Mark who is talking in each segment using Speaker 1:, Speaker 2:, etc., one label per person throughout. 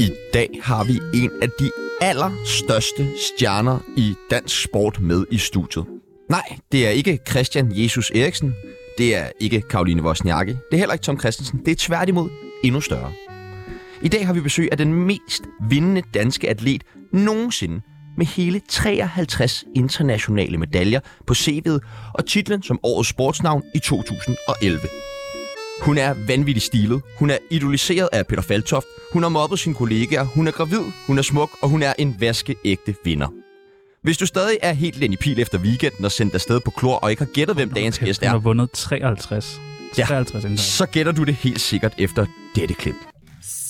Speaker 1: I dag har vi en af de allerstørste stjerner i dansk sport med i studiet. Nej, det er ikke Christian Jesus Eriksen. Det er ikke Karoline Wozniacki. Det er heller ikke Tom Christensen. Det er tværtimod endnu større. I dag har vi besøg af den mest vindende danske atlet nogensinde med hele 53 internationale medaljer på CV'et og titlen som årets sportsnavn i 2011. Hun er vanvittig stilet. Hun er idoliseret af Peter Faltoft. Hun har mobbet sine kollegaer. Hun er gravid. Hun er smuk. Og hun er en vaskeægte vinder. Hvis du stadig er helt ind i pil efter weekenden og sendt afsted på klor og ikke har gættet, hvem dagens gæst
Speaker 2: Hun
Speaker 1: er,
Speaker 2: har vundet 53.
Speaker 1: Ja.
Speaker 2: 53 indtræk.
Speaker 1: så gætter du det helt sikkert efter dette klip.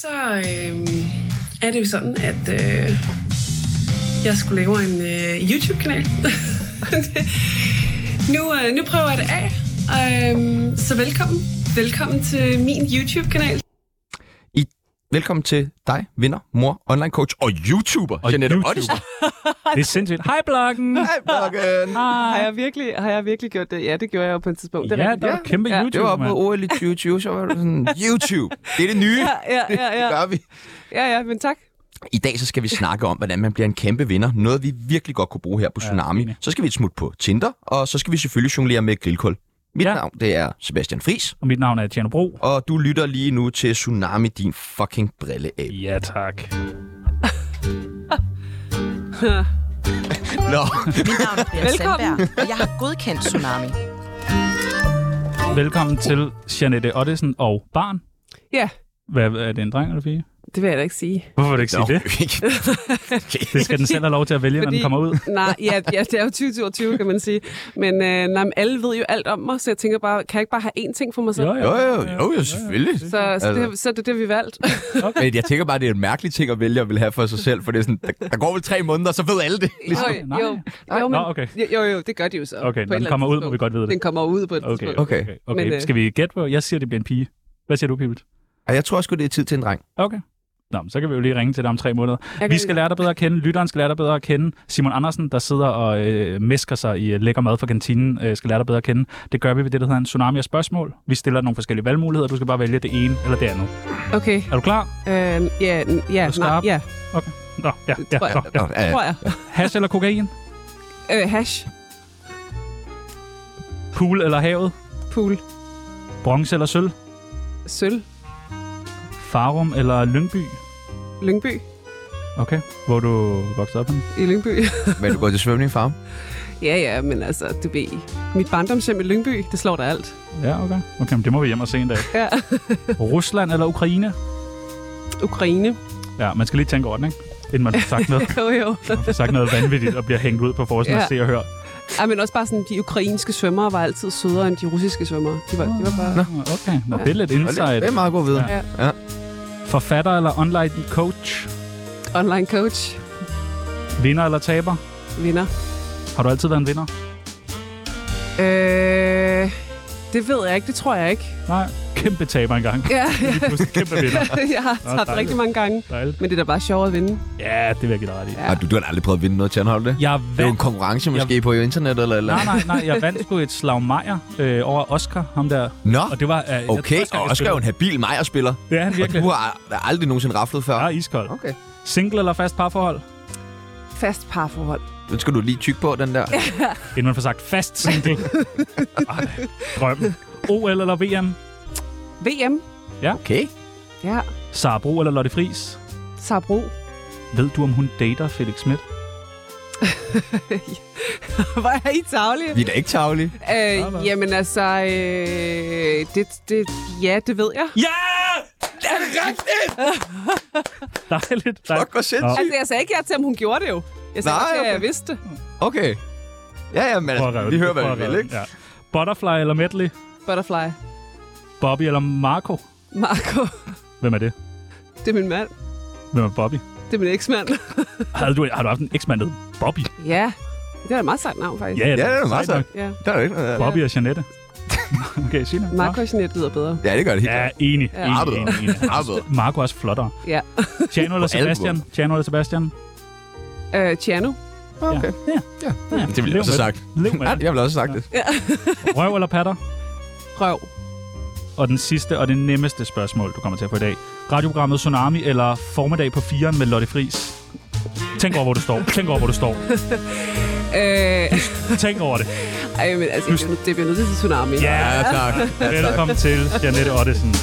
Speaker 3: Så øh, er det jo sådan, at øh, jeg skulle lave en øh, YouTube-kanal. nu, øh, nu prøver jeg det af. Øh, så velkommen. Velkommen til min YouTube-kanal.
Speaker 1: Velkommen til dig, vinder, mor, online coach og YouTuber, og
Speaker 2: Og
Speaker 1: Janette
Speaker 2: YouTuber.
Speaker 1: Ottesen.
Speaker 2: Det er sindssygt. Hej, bloggen!
Speaker 1: Hej, blokken.
Speaker 4: Har jeg, virkelig, har jeg virkelig gjort det? Ja, det gjorde jeg jo på et tidspunkt. Det er
Speaker 2: Ja,
Speaker 4: rigtigt.
Speaker 2: der er kæmpe
Speaker 4: Ja.
Speaker 1: Det var
Speaker 2: YouTube,
Speaker 1: op mod
Speaker 2: mand.
Speaker 1: OL i 2020, så var det sådan, YouTube, det er det nye.
Speaker 4: Ja, ja, ja,
Speaker 1: Det
Speaker 4: ja.
Speaker 1: gør vi.
Speaker 4: ja, ja men tak.
Speaker 1: I dag så skal vi snakke om, hvordan man bliver en kæmpe vinder. Noget, vi virkelig godt kunne bruge her på Tsunami.
Speaker 2: enig.
Speaker 1: så skal vi et smut på Tinder, og så skal vi selvfølgelig jonglere med grillkål. Mit
Speaker 2: Ja.
Speaker 1: navn, det er Sebastian Fris,
Speaker 2: Og mit navn er Tjerno Bro.
Speaker 1: og du lytter lige nu til Tsunami, din fucking brilleab.
Speaker 2: Ja, tak.
Speaker 1: Nå,
Speaker 5: Mit navn er Brian
Speaker 4: Velkommen.
Speaker 5: Sandberg, og jeg har godkendt Tsunami.
Speaker 2: Velkommen til Janette Ottesen og barn.
Speaker 4: Ja,
Speaker 2: Hvad, er det en dreng eller pige?
Speaker 4: det vil jeg da ikke sige.
Speaker 2: Hvorfor vil du ikke sige det? Det skal den selv have lov til at vælge, når den
Speaker 4: Fordi-
Speaker 2: kommer ud.
Speaker 4: Nej, ja, ja, det er jo 2022, kan man sige. Men, øh, nej, men alle ved jo alt om mig, så jeg tænker bare, kan jeg ikke bare have én ting for mig selv?
Speaker 1: jo, jo, jo, jo, selvfølgelig.
Speaker 4: Så, så, altså. det, har- så er det er det, vi valgte.
Speaker 1: Men jeg tænker bare, det er en mærkelig ting at vælge at vil have for sig selv, for det er sådan, der, der går vel tre måneder, så ved alle det. Ligesom-
Speaker 4: jo,
Speaker 2: Nej.
Speaker 4: jo,
Speaker 2: Nå,
Speaker 4: jo, men,
Speaker 2: okay.
Speaker 4: jo, jo, jo, det gør de jo så.
Speaker 2: Okay,
Speaker 4: på
Speaker 2: når
Speaker 4: et
Speaker 2: den
Speaker 4: eller
Speaker 2: kommer ud,
Speaker 4: andet
Speaker 2: må vi
Speaker 4: tidspunkt.
Speaker 2: godt vide det.
Speaker 4: Den kommer ud på et
Speaker 2: Okay,
Speaker 4: tidspunkt.
Speaker 2: okay, okay.
Speaker 4: Men,
Speaker 2: okay.
Speaker 4: øh,
Speaker 2: Skal vi gætte på? Jeg siger, det bliver en pige. Hvad siger du, Pibelt?
Speaker 1: Og jeg tror sgu, det er tid til en dreng.
Speaker 2: Okay. Nå, men så kan vi jo lige ringe til dig om tre måneder.
Speaker 4: Jeg
Speaker 2: Vi
Speaker 4: kan-
Speaker 2: skal lære dig bedre at kende, lytteren skal lære dig bedre at kende. Simon Andersen, der sidder og øh, mesker sig i øh, lækker mad fra kantinen, øh, skal lære dig bedre at kende. Det gør vi ved det, der hedder en tsunami af spørgsmål. Vi stiller nogle forskellige valgmuligheder, du skal bare vælge det ene eller det andet.
Speaker 4: Okay,
Speaker 2: Er du klar?
Speaker 4: øh, ja, ja,
Speaker 2: Er du
Speaker 4: nej,
Speaker 2: skarp?
Speaker 4: ja,
Speaker 2: Okay. Nå, ja, ja,
Speaker 4: tror jeg.
Speaker 2: nå, ja.
Speaker 1: Nå, ja,
Speaker 4: tror jeg.
Speaker 2: Hash eller kokain?
Speaker 4: Øh, hash,
Speaker 2: Pool eller havet?
Speaker 4: pool,
Speaker 2: Bronze eller sølv?
Speaker 4: sølv,
Speaker 2: Farum eller Lyngby?
Speaker 4: Lyngby,
Speaker 2: Okay. Hvor er du voksede op henne?
Speaker 4: i Lyngby.
Speaker 1: Men du går til svømning, far.
Speaker 4: Ja, ja, men altså, du ved, mit barndomshjem i Lyngby, det slår da alt.
Speaker 2: Ja, okay. Okay, men det må vi hjem og se en dag.
Speaker 4: Ja.
Speaker 2: Rusland eller Ukraine?
Speaker 4: Ukraine.
Speaker 2: Ja, man skal lige tænke over den, ikke? Inden man får sagt noget,
Speaker 4: Jo, jo.
Speaker 2: man får sagt noget vanvittigt og bliver hængt ud på forsen ja.
Speaker 4: Ja.
Speaker 2: og se og høre.
Speaker 4: Ej, men også bare sådan, de ukrainske svømmere var altid sødere end de russiske svømmere. De var, de var bare...
Speaker 2: Nå, okay. Nå, det er lidt insight.
Speaker 1: Det er meget god viden.
Speaker 2: Ja. Forfatter eller online coach?
Speaker 4: Online coach,
Speaker 2: Vinder eller taber?
Speaker 4: vinder.
Speaker 2: Har du altid været en vinder?
Speaker 4: Øh, det ved jeg ikke, det tror jeg ikke.
Speaker 2: Nej. Kæmpe taber engang.
Speaker 4: Ja,
Speaker 2: Du er en kæmpe vinder.
Speaker 4: jeg har
Speaker 2: Nå,
Speaker 4: tabt
Speaker 2: dejligt.
Speaker 4: rigtig mange gange.
Speaker 2: Dejligt.
Speaker 4: Men det er da bare sjovt at vinde.
Speaker 2: Ja, det vil jeg give dig ret i.
Speaker 4: Ja.
Speaker 1: Ej, du, du har da aldrig prøvet at vinde noget til har du det?
Speaker 2: Jeg
Speaker 1: Det er jo
Speaker 2: vandt.
Speaker 1: en konkurrence måske på internet eller eller.
Speaker 2: Nej, nej, nej. Jeg vandt sgu et slag Meier øh, over Oscar, ham der.
Speaker 1: Nå,
Speaker 2: Og det var... Øh, jeg
Speaker 1: okay.
Speaker 2: tror, Oscar,
Speaker 1: Og
Speaker 2: jeg
Speaker 1: også er jo
Speaker 2: spillede.
Speaker 1: en habil Meyer-spiller.
Speaker 2: Det er han
Speaker 1: Og
Speaker 2: virkelig.
Speaker 1: du har aldrig nogensinde raflet før.
Speaker 2: Ja, iskold.
Speaker 1: Okay.
Speaker 2: Single eller fast parforhold?
Speaker 4: Fast parforhold.
Speaker 1: Den skal du lige tykke på, den der.
Speaker 2: Inden man får sagt fast single. Ej, drøm. OL eller VM?
Speaker 4: VM.
Speaker 1: Okay.
Speaker 4: Ja.
Speaker 2: Sara Bro eller Lotte Friis?
Speaker 4: Sabro.
Speaker 2: Ved du, om hun dater Felix Schmidt?
Speaker 4: Hvor er I tavlige?
Speaker 1: Vi er da ikke tavlige.
Speaker 2: Nå, nå.
Speaker 4: Øh, jamen altså, øh, det, det, ja, det ved jeg.
Speaker 2: Ja! Det er rigtigt! dejligt, dejligt.
Speaker 1: Fuck, hvor sindssygt.
Speaker 4: Altså, jeg sagde ikke ja til, om hun gjorde det jo. Jeg sagde
Speaker 1: Nej,
Speaker 4: Nej, okay.
Speaker 1: okay.
Speaker 4: at jeg vidste det.
Speaker 1: Okay. Ja, ja, men
Speaker 2: Prøv at
Speaker 1: altså,
Speaker 2: røre
Speaker 1: vi
Speaker 2: den.
Speaker 1: hører, hvad
Speaker 2: Prøv
Speaker 1: vi vil,
Speaker 2: at røre
Speaker 1: ikke?
Speaker 2: den, Ja. Butterfly eller Medley?
Speaker 4: Butterfly.
Speaker 2: Bobby eller Marco?
Speaker 4: Marco,
Speaker 2: Hvem er det?
Speaker 4: det er min mand.
Speaker 2: Hvem er Bobby?
Speaker 4: Det er min eksmand.
Speaker 2: Har du, har du haft en eksmand hed Bobby?
Speaker 4: ja, det er et meget sejt navn, faktisk.
Speaker 2: Ja,
Speaker 1: Ja, det er
Speaker 2: sejt
Speaker 1: meget sejt.
Speaker 4: Ja.
Speaker 1: Der er jo ikke noget. der.
Speaker 2: Bobby og Janette. okay, sig det.
Speaker 4: Marco og Jeanette lyder bedre.
Speaker 1: Ja, det gør det helt.
Speaker 2: Ja,
Speaker 1: klart.
Speaker 2: enig.
Speaker 4: Ja.
Speaker 2: enig,
Speaker 1: Arbejder.
Speaker 2: enig, enig.
Speaker 1: Arbejder.
Speaker 2: Marco er også flottere.
Speaker 4: Ja.
Speaker 2: Tjano eller
Speaker 1: På albuer.
Speaker 2: Sebastian? Tjano eller Sebastian?
Speaker 4: Øh, Tjano. Okay.
Speaker 2: Ja.
Speaker 1: Ja.
Speaker 2: ja.
Speaker 6: Det ville jeg
Speaker 2: Lev
Speaker 6: også
Speaker 2: med
Speaker 6: have sagt.
Speaker 2: Lev med
Speaker 1: Ja,
Speaker 2: det.
Speaker 1: jeg vil også have sagt det.
Speaker 2: Røv eller patter?
Speaker 4: Røv.
Speaker 2: Og den sidste og det nemmeste spørgsmål, du kommer til at få i dag. Radioprogrammet Tsunami eller Formiddag på 4 med Lotte Fris? Tænk over, hvor du står. Tænk over, hvor du står.
Speaker 4: Øh,
Speaker 2: Tænk over det.
Speaker 4: ej, men altså, jeg bliver- det bliver nødt til tsunami.
Speaker 2: Ja,
Speaker 6: Ja, tak.
Speaker 2: velkommen til Janette Ottesen.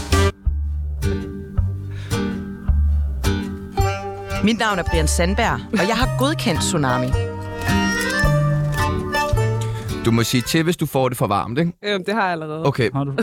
Speaker 5: Mit navn er Brian Sandberg, og jeg har godkendt Tsunami.
Speaker 1: Du må sige til, hvis du får det for varmt, ikke?
Speaker 4: Øh, det har jeg allerede.
Speaker 1: Okay,
Speaker 2: Har du?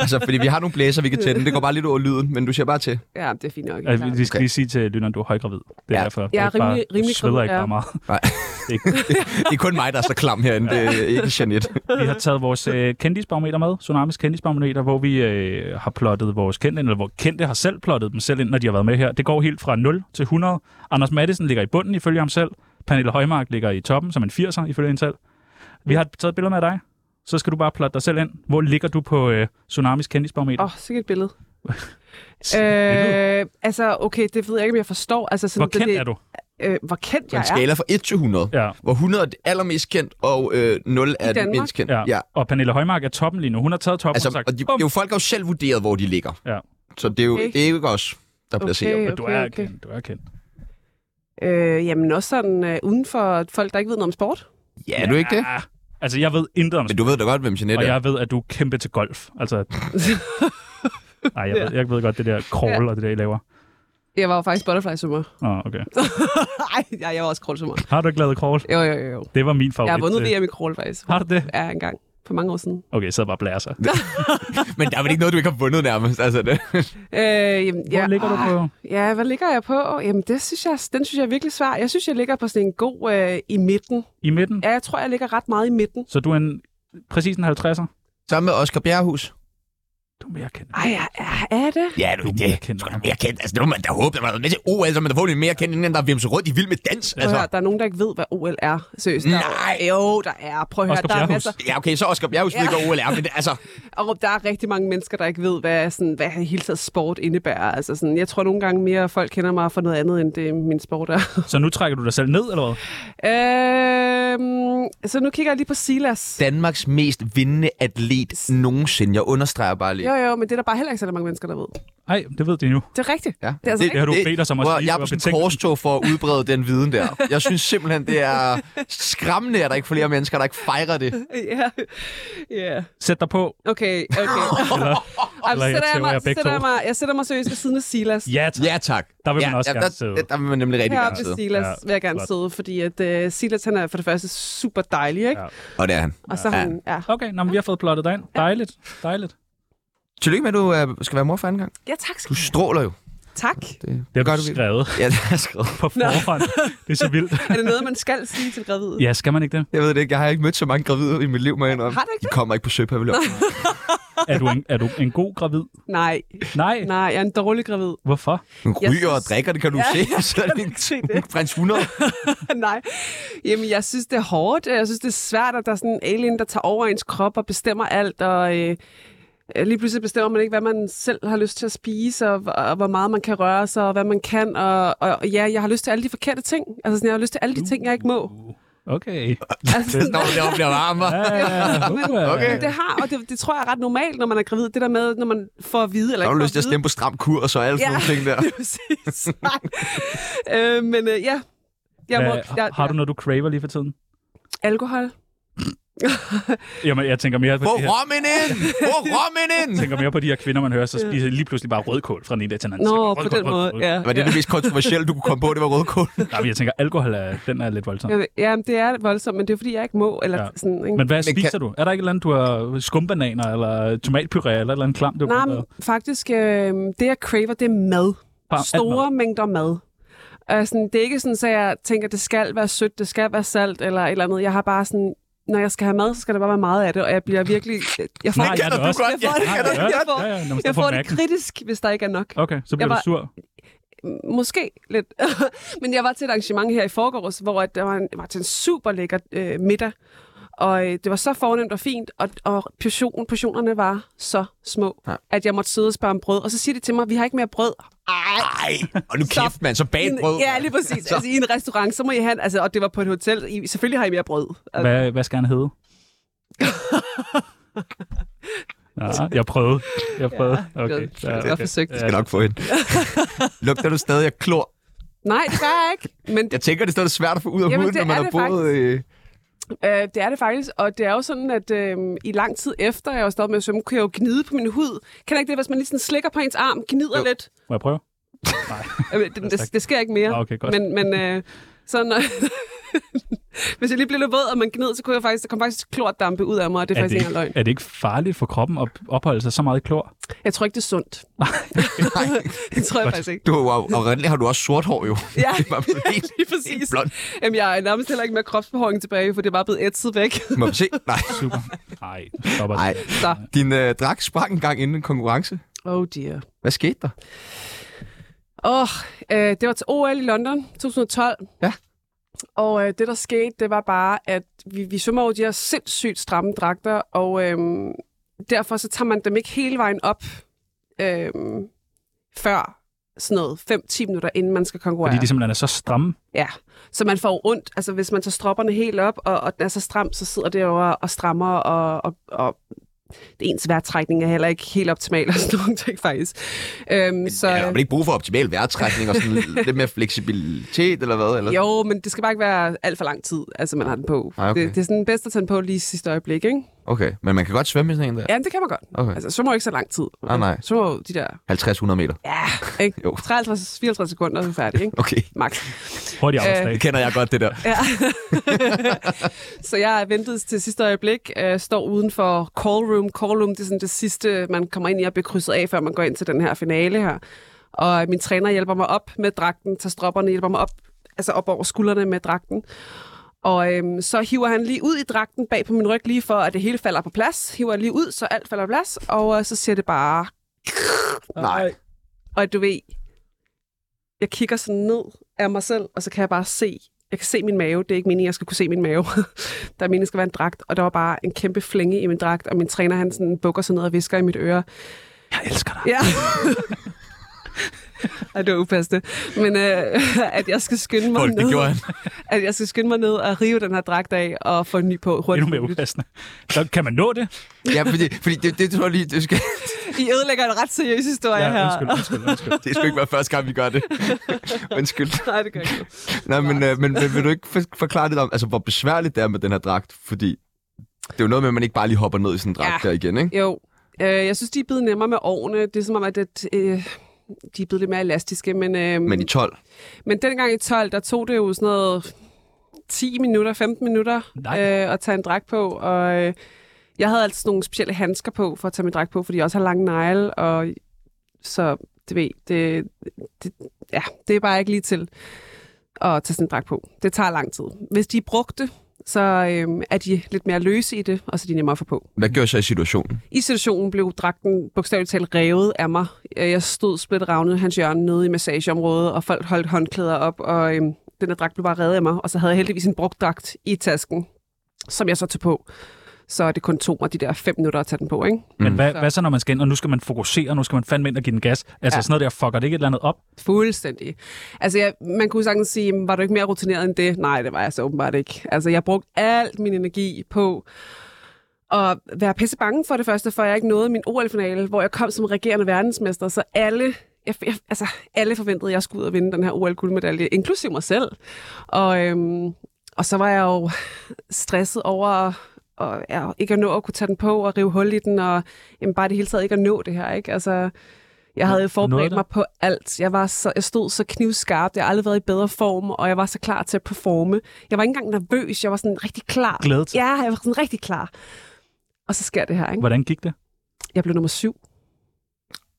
Speaker 1: altså, fordi vi har nogle blæser, vi kan tænde. Det går bare lidt over lyden, men du siger bare til.
Speaker 4: Ja, det er fint nok.
Speaker 2: Altså, vi skal
Speaker 1: Okay.
Speaker 2: lige sige til lytteren, du er højgravid. Det er
Speaker 1: Ja.
Speaker 2: derfor.
Speaker 4: Jeg er
Speaker 2: Du
Speaker 4: rimelig- rimelig
Speaker 2: du sveder
Speaker 4: gravid,
Speaker 2: ikke
Speaker 4: ja.
Speaker 2: bare meget.
Speaker 1: Nej.
Speaker 2: Det er ikke-
Speaker 1: Det er kun mig, der er så klam herinde. Det er ikke Jeanette.
Speaker 2: Vi har taget vores øh, kendisbarometer med, Tsunamis kendisbarometer, hvor vi øh, har plottet vores kendte, eller hvor kendte har selv plottet dem selv ind, når de har været med her. Det går helt fra 0 til 100. Anders Madsen ligger i bunden ifølge ham selv. Pernille Højmark ligger i toppen som en 80'er ifølge hende selv. Vi har taget billeder med af dig. Så skal du bare plotte dig selv ind. Hvor ligger du på øh, Tsunamis kendisbarometer?
Speaker 4: Åh, oh, sikkert et billede.
Speaker 2: Sikke et
Speaker 4: Øh, altså, okay, det ved jeg ikke, om jeg forstår. Altså, sådan,
Speaker 2: Hvor kendt
Speaker 4: det,
Speaker 2: er du?
Speaker 4: Øh, hvor
Speaker 1: På
Speaker 4: kendt jeg
Speaker 1: en skala fra 1 til 100,
Speaker 2: Ja.
Speaker 1: hvor 100 er det allermest kendt, og øh, 0 er det
Speaker 4: Danmark?
Speaker 1: mindst kendt.
Speaker 2: Ja.
Speaker 1: ja.
Speaker 2: ja. Og Pernille Højmark er toppen lige nu. Hun har taget toppen
Speaker 1: Altså,
Speaker 2: og sagt,
Speaker 1: og de,
Speaker 2: "Bum."
Speaker 1: jo, folk har jo selv vurderet, hvor de ligger.
Speaker 2: Ja.
Speaker 1: Så det er jo
Speaker 4: Okay.
Speaker 1: det er jo ikke os, der bliver okay.
Speaker 2: Men du
Speaker 4: okay,
Speaker 2: er
Speaker 4: okay.
Speaker 2: kendt, du er kendt.
Speaker 4: er. Øh, jamen, også sådan øh, uden for folk, der ikke ved noget om sport.
Speaker 1: Ja, er du ikke det?
Speaker 2: Ja. Altså, jeg ved intet om
Speaker 1: Men du ved da godt, hvem Jeanette
Speaker 2: Og
Speaker 1: er.
Speaker 2: jeg ved, at du er kæmpe til golf. Altså... Nej, jeg, ved, jeg ved godt, det der crawl og det der, I laver.
Speaker 4: Jeg var jo faktisk butterfly-summer.
Speaker 2: Oh, okay.
Speaker 4: Ej, ja, jeg var også crawl-summer.
Speaker 2: Har du ikke lavet crawl?
Speaker 4: Jo, jo, jo, jo.
Speaker 2: Det var min favorit.
Speaker 4: Jeg har vundet
Speaker 2: det.
Speaker 4: VM i crawl, faktisk.
Speaker 2: Har du det?
Speaker 4: Ja, engang. For mange år siden.
Speaker 2: Okay, så bare og blæser.
Speaker 1: Men der er vel ikke noget, du ikke har vundet nærmest. Altså, det.
Speaker 4: Øh, jamen,
Speaker 2: Hvor
Speaker 4: ja,
Speaker 2: ligger du
Speaker 4: ah,
Speaker 2: på?
Speaker 4: Ja, hvad ligger jeg på? Jamen, det synes jeg, den synes jeg er virkelig svær. Jeg synes, jeg ligger på sådan en god øh, i midten.
Speaker 2: I midten?
Speaker 4: Ja, jeg tror, jeg ligger ret meget i midten.
Speaker 2: Så du er en, præcis en 50'er?
Speaker 1: Sammen med Oscar Bjerrehus.
Speaker 2: Du er mere kendt.
Speaker 4: Ej, er, er- er det?
Speaker 1: Ja, du,
Speaker 2: Du er
Speaker 1: det
Speaker 2: mere
Speaker 1: er
Speaker 2: kendt.
Speaker 1: sgu da mere kendt. Altså, det må man da håbe. Der var med til OL, så man da får lidt mere kendt, inden der er vimset rundt i Vild med Dans.
Speaker 4: Prøv at høre,
Speaker 1: Altså.
Speaker 4: der er nogen, der ikke ved, hvad OL er. Seriøst. der-
Speaker 1: Nej.
Speaker 4: Jo, der er. Prøv at høre,
Speaker 2: Oscar
Speaker 4: der er
Speaker 2: Bjerrehus.
Speaker 4: masser.
Speaker 1: Ja, okay, så Oscar Bjerrehus ved
Speaker 4: Ja.
Speaker 1: ikke, hvad OL er, men det- altså...
Speaker 4: Og der er rigtig mange mennesker, der ikke ved, hvad, sådan, hvad hele taget sport indebærer. Altså, sådan, jeg tror nogle gange mere, at folk kender mig for noget andet, end det min sport er.
Speaker 2: Så nu trækker du dig selv ned, eller hvad?
Speaker 4: øhm, så nu kigger jeg lige på Silas.
Speaker 1: Danmarks mest vindende atlet nogensinde. Jeg understreger bare lige.
Speaker 4: Jo, jo, men det er der bare heller ikke så mange mennesker, der ved.
Speaker 2: Nej, det ved de nu.
Speaker 4: Det er rigtigt.
Speaker 1: Ja.
Speaker 4: Det er altså
Speaker 2: Det har du bedt os om at
Speaker 1: Prøv
Speaker 2: sige,
Speaker 1: Jeg er
Speaker 2: du
Speaker 1: på
Speaker 2: har
Speaker 1: sådan
Speaker 2: betænkt
Speaker 1: en
Speaker 2: den.
Speaker 1: korstog for at udbrede den viden der. Jeg synes simpelthen, det er skræmmende, at der ikke er flere mennesker, der ikke fejrer det.
Speaker 4: Ja. ja.
Speaker 2: Sæt dig på.
Speaker 4: Okay, okay.
Speaker 2: Eller,
Speaker 4: Ej,
Speaker 2: eller
Speaker 4: så
Speaker 2: jeg
Speaker 4: sætter jeg,
Speaker 2: tæver jer
Speaker 4: mig, så
Speaker 2: begge
Speaker 4: sætter jeg,
Speaker 2: to.
Speaker 4: mig, jeg sætter mig seriøst ved siden af Silas.
Speaker 2: Ja, tak.
Speaker 1: Ja, tak.
Speaker 2: Der vil
Speaker 1: ja,
Speaker 2: man også
Speaker 1: ja,
Speaker 2: gerne
Speaker 1: der,
Speaker 2: sidde.
Speaker 1: Der, der vil man nemlig rigtig
Speaker 4: Heroppe
Speaker 1: gerne
Speaker 4: ved
Speaker 1: sidde.
Speaker 4: Silas
Speaker 2: Ja,
Speaker 4: vil jeg gerne
Speaker 2: flot.
Speaker 4: sidde, fordi at, uh, Silas han er for det første super dejlig, ikke?
Speaker 2: Ja.
Speaker 4: Ja.
Speaker 1: Og det er han.
Speaker 4: Og så
Speaker 1: Ja.
Speaker 4: ja. han, ja.
Speaker 2: Okay, nå, men vi har fået plottet dig ind. Dejligt, dejligt.
Speaker 1: Tillykke med, at du øh, skal være mor for anden gang.
Speaker 4: Ja, tak.
Speaker 1: Du
Speaker 4: Skal.
Speaker 1: stråler jo.
Speaker 4: Tak.
Speaker 1: Det,
Speaker 2: Det
Speaker 1: gør
Speaker 2: har
Speaker 1: du
Speaker 2: du
Speaker 1: virkelig.
Speaker 2: skrevet
Speaker 1: Ja, det har jeg skrevet.
Speaker 2: på forhånd. Det er så vildt.
Speaker 4: Er det noget, man skal sige til gravide?
Speaker 2: Ja, skal man ikke det?
Speaker 1: Jeg ved det ikke. Jeg har ikke mødt så mange gravide i mit liv, må jeg indrømme.
Speaker 4: Har du ikke
Speaker 1: De kommer ikke på søpavillon.
Speaker 2: Er du en, er du en god gravid?
Speaker 4: Nej,
Speaker 2: Nej.
Speaker 4: nej, jeg er en dårlig gravid.
Speaker 2: Hvorfor?
Speaker 1: Hun
Speaker 4: Jeg
Speaker 1: ryger og
Speaker 4: synes-
Speaker 1: drikker, det kan du
Speaker 4: Ja,
Speaker 1: se. Så er det en
Speaker 4: se det.
Speaker 1: prins 100.
Speaker 4: nej. Jamen, jeg synes, det er hårdt. Jeg synes, det er svært, at der er sådan en alien, der tager over ens krop og bestemmer alt, og... Øh, Lige pludselig bestemmer man ikke, hvad man selv har lyst til at spise, og, og hvor meget man kan røre sig, og hvad man kan. Og, og ja, jeg har lyst til alle de forkerte ting. Altså, sådan, jeg har lyst til alle de
Speaker 2: Uh.
Speaker 4: ting, jeg ikke må.
Speaker 2: Okay.
Speaker 4: Altså,
Speaker 1: Når det op bliver varmere.
Speaker 2: Ja,
Speaker 1: Okay.
Speaker 4: Men det har, og det, det tror jeg er ret normalt, når man er gravid. Det der med, når man får at vide, eller
Speaker 1: Så har
Speaker 4: ikke
Speaker 1: du
Speaker 4: får
Speaker 1: lyst til at
Speaker 4: vide.
Speaker 1: stemme på stram kurs og alle sådan
Speaker 4: Ja.
Speaker 1: nogle ting der.
Speaker 4: Det er præcis. Nej. øh, men øh, ja. Jeg må, jeg,
Speaker 2: Har du noget, du craver lige for tiden?
Speaker 4: Alkohol.
Speaker 2: Jamen, jeg tænker mere på,
Speaker 1: Få
Speaker 2: de her,
Speaker 1: rommen ind! Få rommen ind!
Speaker 2: tænker mere på de her kvinder, man hører, så spiser lige pludselig bare rødkål fra den ene dag til den anden. Så
Speaker 4: Nå,
Speaker 2: rødkål,
Speaker 4: på den
Speaker 2: rødkål,
Speaker 4: måde.
Speaker 2: rødkål.
Speaker 4: Ja,
Speaker 1: Var det det mest kontroversielle, du kunne komme på? Det var rødkål.
Speaker 2: Nej, men jeg tænker, alkohol er, den er lidt voldsom.
Speaker 4: ja. ja, men det er voldsomt, men det er fordi, jeg ikke må. Eller
Speaker 2: Ja.
Speaker 4: ja. sådan, ikke?
Speaker 2: Men hvad
Speaker 1: Men
Speaker 2: spiser du? Er der ikke et eller andet, du har skumbananer, eller tomatpuré, eller et eller andet klam, du
Speaker 4: Nej,
Speaker 2: har
Speaker 4: men faktisk, øh, det jeg craver, det er mad.
Speaker 2: Bare alt
Speaker 4: Store
Speaker 2: mad.
Speaker 4: mængder mad. Øh, sådan, det er ikke sådan, at jeg tænker, det skal være sødt, det skal være salt, eller et eller andet. Jeg har bare sådan, når jeg skal have mad, så skal der bare være meget af det, og jeg bliver virkelig... Jeg får,
Speaker 2: Nej, jeg er
Speaker 1: kender
Speaker 2: det
Speaker 1: du
Speaker 2: også.
Speaker 1: godt.
Speaker 4: jeg får,
Speaker 2: Nej,
Speaker 4: det,
Speaker 2: jeg er det
Speaker 4: jeg
Speaker 2: også.
Speaker 4: får,
Speaker 2: Ja, ja, når man står
Speaker 4: jeg
Speaker 2: på
Speaker 4: får det
Speaker 2: Mac'en.
Speaker 4: kritisk, hvis der ikke er nok.
Speaker 2: Okay, så bliver
Speaker 4: Jeg
Speaker 2: du sur.
Speaker 4: Måske lidt. Men jeg var til et arrangement her i forgårs, hvor at der var, en, var til en super lækker øh, middag. Og øh, det var så fornemt og fint, og, og portionen, portionerne var så små,
Speaker 1: Ja.
Speaker 4: ja. at jeg måtte sidde og spørge om brød. Og så siger de til mig, vi har ikke mere brød.
Speaker 1: Ej, og nu
Speaker 4: Stop.
Speaker 1: kæft, mand. Så bag
Speaker 4: I
Speaker 1: et
Speaker 4: en-
Speaker 1: brød.
Speaker 4: Ja, lige præcis.
Speaker 1: Så-
Speaker 4: Altså, I en restaurant, så må I have... Altså, og det var på et hotel. I, selvfølgelig har I mere brød. Altså,
Speaker 2: Hvad, hvad skal han hedde? Ja, jeg prøvede. Jeg prøvede.
Speaker 4: Ja,
Speaker 2: okay.
Speaker 4: det var- det var forsøgt.
Speaker 1: Jeg skal nok få hende. Lugter du stadig af klor?
Speaker 4: nej, det gør jeg ikke. Men
Speaker 1: Jeg tænker, det er stadig svært at få ud af
Speaker 4: Jamen,
Speaker 1: huden, når
Speaker 4: det
Speaker 1: man
Speaker 4: er
Speaker 1: har
Speaker 4: det
Speaker 1: boet... Øh...
Speaker 4: Øh, det er det faktisk, og det er jo sådan, at øh, i lang tid efter, jeg var stadig med at svømme, kunne jeg jo gnide på min hud. Kan jeg ikke det, hvis man lige sådan slikker på ens arm, gnider
Speaker 1: Jo.
Speaker 4: jo. lidt?
Speaker 2: Må jeg prøve? Nej.
Speaker 4: Øh, det, det, det sker ikke mere.
Speaker 2: Ah, okay, godt.
Speaker 4: Men, men øh, sådan, hvis jeg lige blev lidt våd, og man gned, så kunne jeg faktisk, der kom faktisk klortdampe ud af mig, og det er,
Speaker 2: Er det,
Speaker 4: faktisk ikke engang
Speaker 2: ikke,
Speaker 4: løgn.
Speaker 2: er det ikke farligt for kroppen at opholde sig så meget i klor?
Speaker 4: Jeg tror ikke, det er sundt.
Speaker 1: Nej,
Speaker 4: Det tror jeg faktisk ikke.
Speaker 1: du, og, og René har du også sort hår, jo.
Speaker 4: Ja,
Speaker 1: Det var blevet helt,
Speaker 4: lige præcis.
Speaker 1: blond.
Speaker 4: Jamen, jeg er nærmest heller ikke med kropsbehåring tilbage, for det er bare blevet ætset væk.
Speaker 1: Må vi se? Nej.
Speaker 2: Super. Nej, stopper
Speaker 1: Nej.
Speaker 4: Så,
Speaker 1: Din øh, drak sprang en gang inden en konkurrence.
Speaker 4: oh dear.
Speaker 1: Hvad skete der?
Speaker 4: Åh, oh, øh, det var til OL i London 2012.
Speaker 1: Ja.
Speaker 4: Og øh, det, der skete, det var bare, at vi, vi svømmer over de her sindssygt stramme dragter, og øh, derfor så tager man dem ikke hele vejen op øh, før sådan noget 5-10 minutter, inden man skal konkurrere.
Speaker 2: Fordi de simpelthen er så stramme.
Speaker 4: Ja, så man får jo ondt. Altså, hvis man tager stropperne helt op, og, og den er så stram, så sidder det over og strammer, og, og, og ens vejrtrækning er heller ikke helt optimal, og sådan nogle ting faktisk. Øhm, så,
Speaker 1: Så... Ja, har man ikke brug for optimal vejrtrækning og sådan lidt mere fleksibilitet, eller hvad? Eller?
Speaker 4: Jo, men det skal bare ikke være alt for lang tid, altså man har den på.
Speaker 1: Nej, okay.
Speaker 4: det, det er sådan bedst at tage den på lige i sidste øjeblik, ikke?
Speaker 1: Okay, men man kan godt svømme i sådan en der.
Speaker 4: Ja, det kan man godt.
Speaker 1: Okay.
Speaker 4: Altså, så må ikke så lang tid.
Speaker 1: Nej, nej.
Speaker 4: Så må de der,
Speaker 1: 50-100 meter.
Speaker 4: ja, ikke?
Speaker 1: Jo.
Speaker 4: 53-54 sekunder, så er vi færdige, ikke?
Speaker 1: Okay,
Speaker 4: Max.
Speaker 2: Hurtig
Speaker 4: Øh,
Speaker 2: arbejdsdag.
Speaker 1: det kender jeg godt, det der.
Speaker 4: Ja. så jeg ventede til sidste øjeblik, øh, står uden for call room. Call room, det er sådan det sidste, man kommer ind i og bliver krydset af, før man går ind til den her finale her. Og min træner hjælper mig op med dragten, tager stropperne, hjælper mig op, altså op over skuldrene med dragten. Og øhm, så hiver han lige ud i dragten bag på min ryg, lige for at det hele falder på plads. Hiver lige ud, så alt falder på plads, og øh, så siger det bare...
Speaker 1: Nej.
Speaker 4: Og du ved, jeg kigger sådan ned af mig selv, og så kan jeg bare se, jeg kan se min mave. Det er ikke meningen, jeg skal kunne se min mave. der er meningen, skal være en dragt, og der var bare en kæmpe flænge i min dragt, og min træner, han sådan bukker sig ned og visker i mit øre.
Speaker 2: Jeg elsker dig.
Speaker 4: Ja. Ej, det var upassende. Men øh, at jeg skal skynde mig
Speaker 1: Folk, det
Speaker 4: ned,
Speaker 1: gjorde han.
Speaker 4: at jeg skal skynde mig ned og rive den her dragt af og få en ny på hurtigt.
Speaker 2: Endnu mere
Speaker 4: muligt.
Speaker 2: upassende. Så kan man nå det?
Speaker 1: Ja, fordi, fordi det, det tror jeg lige, det skal,
Speaker 4: I ødelægger en ret seriøs historie
Speaker 2: Ja,
Speaker 4: her.
Speaker 2: undskyld, undskyld, undskyld.
Speaker 1: det skal ikke være første gang, vi gør det. Undskyld.
Speaker 4: Nej, det gør jeg ikke.
Speaker 1: Nej, men, øh, men, men vil du ikke for- forklare lidt om, altså, hvor besværligt det er med den her dragt? Fordi det er jo noget med, at man ikke bare lige hopper ned i sådan en dragt ja.
Speaker 4: Ja.
Speaker 1: der igen, ikke?
Speaker 4: Jo. Øh, jeg synes, de er blevet nemmere med årene. Det er som om, at det, øh, de er blevet lidt mere elastiske. Men, øh,
Speaker 1: Men i 12.
Speaker 4: men dengang i 12, der tog det jo sådan noget 10 minutter, 15 minutter
Speaker 2: Nej.
Speaker 4: øh, at tage en dragt på. Og øh, jeg havde altid nogle specielle handsker på for at tage min dragt på, fordi jeg også har lange negle. Og så det ved, det, det, ja, det er bare ikke lige til at tage sådan en dragt på. Det tager lang tid. Hvis de er brugte, så øh, er de lidt mere løse i det, og så er de nemmere at få på.
Speaker 1: Hvad gør så i situationen?
Speaker 4: I situationen blev dragten bogstaveligt talt revet af mig. Øh, Jeg stod split ravnet hans hjørne nede i massageområdet, og folk holdt håndklæder op, og øhm, den der dragt blev bare revet af mig. Og så havde jeg heldigvis en brugt dragt i tasken, som jeg så tog på. Så det kun tog mig de der fem minutter at tage den på, ikke?
Speaker 1: Mm.
Speaker 2: Men hvad, hvad så, når man skal ind, og nu skal man fokusere, nu skal man fandme ind og give den gas? Altså
Speaker 4: Ja.
Speaker 2: sådan noget der, fucker det ikke et eller andet op?
Speaker 4: Fuldstændig. Altså, jeg, man kunne sagtens sige, "Men var du ikke mere rutineret end det? Nej, det var jeg så åbenbart ikke. Altså, jeg brugte alt min energi på at være pisse bange for det første, for jeg ikke nåede min OL-finale, hvor jeg kom som regerende verdensmester, så alle, jeg, jeg, altså, alle forventede, at jeg skulle ud og vinde den her OL-guldmedalje, inklusive mig selv. Og, øhm, og så var jeg jo stresset over at- og, ja, ikke at nå at kunne tage den på og rive hul i den, og jamen, bare det hele taget ikke at nå det her. Ikke? Altså, jeg havde jo
Speaker 2: nåede
Speaker 4: forberedt
Speaker 2: det?
Speaker 4: mig på alt. Jeg, var så, jeg stod så knivskarpt. Jeg har aldrig været i bedre form, og jeg var så klar til at performe. Jeg var ikke engang nervøs. Jeg var sådan rigtig klar.
Speaker 2: Glædet.
Speaker 4: Ja, jeg var sådan rigtig klar. Og så sker det her, ikke?
Speaker 2: Hvordan gik det?
Speaker 4: Jeg blev nummer syv.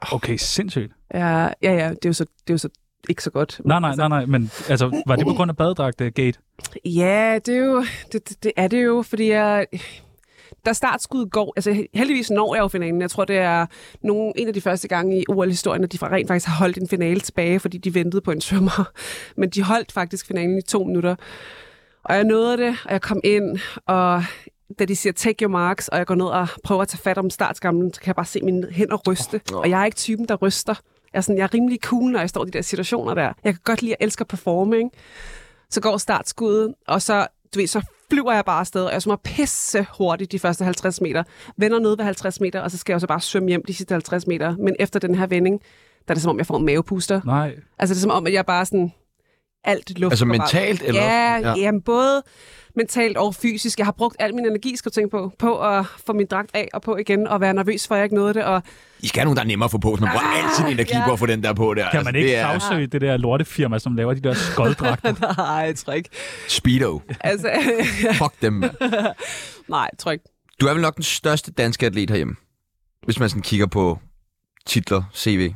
Speaker 2: Okay, sindssygt.
Speaker 4: Ja, ja, ja det, er jo så, det er jo så ikke så godt.
Speaker 2: Nej, nej, nej, nej, men altså, var det på grund af badedragt-gate?
Speaker 4: Ja, det er, jo, det, det, det er det jo, fordi jeg... Da startskuddet går, altså heldigvis når jeg jo finalen. Jeg tror, det er nogen, en af de første gange i OL-historien, at de rent faktisk har holdt en finale tilbage, fordi de ventede på en svømmer. Men de holdt faktisk finalen i to minutter. Og jeg nåede det, og jeg kom ind, og da de siger, take your marks, og jeg går ned og prøver at tage fat om startskamlen, så kan jeg bare se mine hænder ryste. Oh, Og jeg er ikke typen, der ryster. Jeg er, sådan, jeg er rimelig cool, når jeg står i de der situationer der. Jeg kan godt lide, at jeg elsker at performe, ikke? Så går startskuddet, og så, du ved, så flyver jeg bare afsted, og jeg svømmer pisse hurtigt de første 50 meter, vender ned ved 50 meter, og så skal jeg jo så bare svømme hjem de sidste 50 meter. Men efter den her vending, der er det som om, jeg får en mavepuster.
Speaker 2: Nej.
Speaker 4: Altså, det er som om, at jeg bare sådan... Alt luft
Speaker 1: Altså
Speaker 4: går bare-
Speaker 1: mentalt, eller?
Speaker 4: Ja,
Speaker 1: Ja.
Speaker 4: ja. Jamen, både mentalt og fysisk. Jeg har brugt al min energi, skal du tænke på, på at få min dragt af og på igen, og være nervøs for, at jeg ikke nåede det. Og
Speaker 1: I skal have nogen, der er nemmere at få på, så man bruger ah, al sin energi
Speaker 4: ja.
Speaker 1: på at få den der på der.
Speaker 2: Kan man ikke
Speaker 1: Altså, det er
Speaker 2: afsøge det der lortefirma, som laver de der skolddragter?
Speaker 4: nej, jeg tror ikke.
Speaker 1: Speedo.
Speaker 4: Altså,
Speaker 1: Fuck dem, mand.
Speaker 4: nej, jeg tror ikke.
Speaker 1: Du er vel nok den største danske atlet herhjemme, hvis man sådan kigger på titler, CV.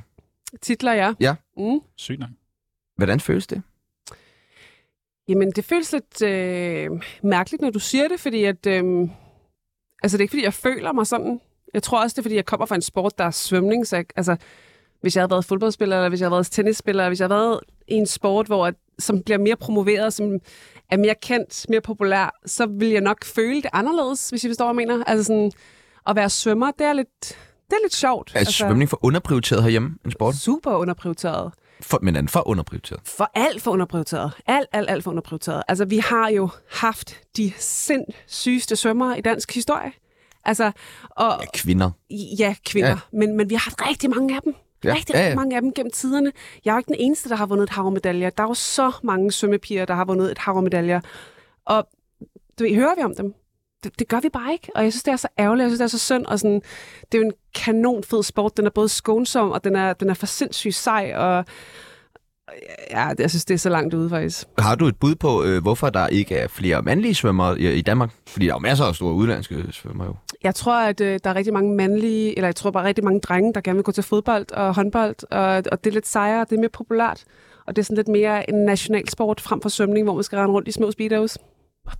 Speaker 4: Titler, ja.
Speaker 1: Ja.
Speaker 4: Mm.
Speaker 2: Sygt nok.
Speaker 1: Hvordan føles det?
Speaker 4: Jamen, det føles lidt øh, mærkeligt, når du siger det, fordi at... Øh, altså, det er ikke, fordi jeg føler mig sådan. Jeg tror også, det er, fordi jeg kommer fra en sport, der er svømning, så jeg, altså, hvis jeg havde været fodboldspiller, eller hvis jeg havde været tennisspiller, eller hvis jeg havde været i en sport, hvor, at- som bliver mere promoveret, som er mere kendt, mere populær, så vil jeg nok føle det anderledes, hvis I forstår, hvad jeg mener. Altså sådan, at være svømmer, det er lidt, det er lidt sjovt.
Speaker 1: Er altså, svømning for underprioriteret herhjemme, en sport?
Speaker 4: Super underprioriteret.
Speaker 1: For, men er den for underprioriteret?
Speaker 4: For alt for underprioriteret. Alt, alt, alt for underprioriteret. Altså, vi har jo haft de sindssygeste svømmere i dansk historie. Altså, og
Speaker 1: Af kvinder.
Speaker 4: ja, kvinder. Ja. Men, men vi har haft rigtig mange af dem.
Speaker 1: Ja.
Speaker 4: Ja. Rigtig,
Speaker 1: Ja,
Speaker 4: rigtig
Speaker 1: ja.
Speaker 4: mange af dem gennem tiderne. Jeg er jo ikke den eneste, der har vundet et hav af medaljer. Der er jo så mange svømmepiger, der har vundet et hav af medaljer. Og du ved, hører vi om dem? Det, det gør vi bare ikke. Og jeg synes, det er så ærgerligt. Jeg synes, det er så synd. Og sådan, det er jo en kanon fed sport. Den er både skånsom, og den er, den er for sindssygt sej. Og ja, det- jeg synes, det er så langt ude, faktisk.
Speaker 1: Har du et bud på, øh, hvorfor der ikke er flere mandlige svømmere i, i Danmark? Fordi der er jo masser af store udlandske svømmere jo.
Speaker 4: Jeg tror, at øh, der er rigtig mange mandlige, eller jeg tror bare rigtig mange drenge, der gerne vil gå til fodbold og håndbold, og, og det er lidt sejere, det er mere populært, og det er sådan lidt mere en nationalsport frem for svømning, hvor man skal rende rundt i små speedos.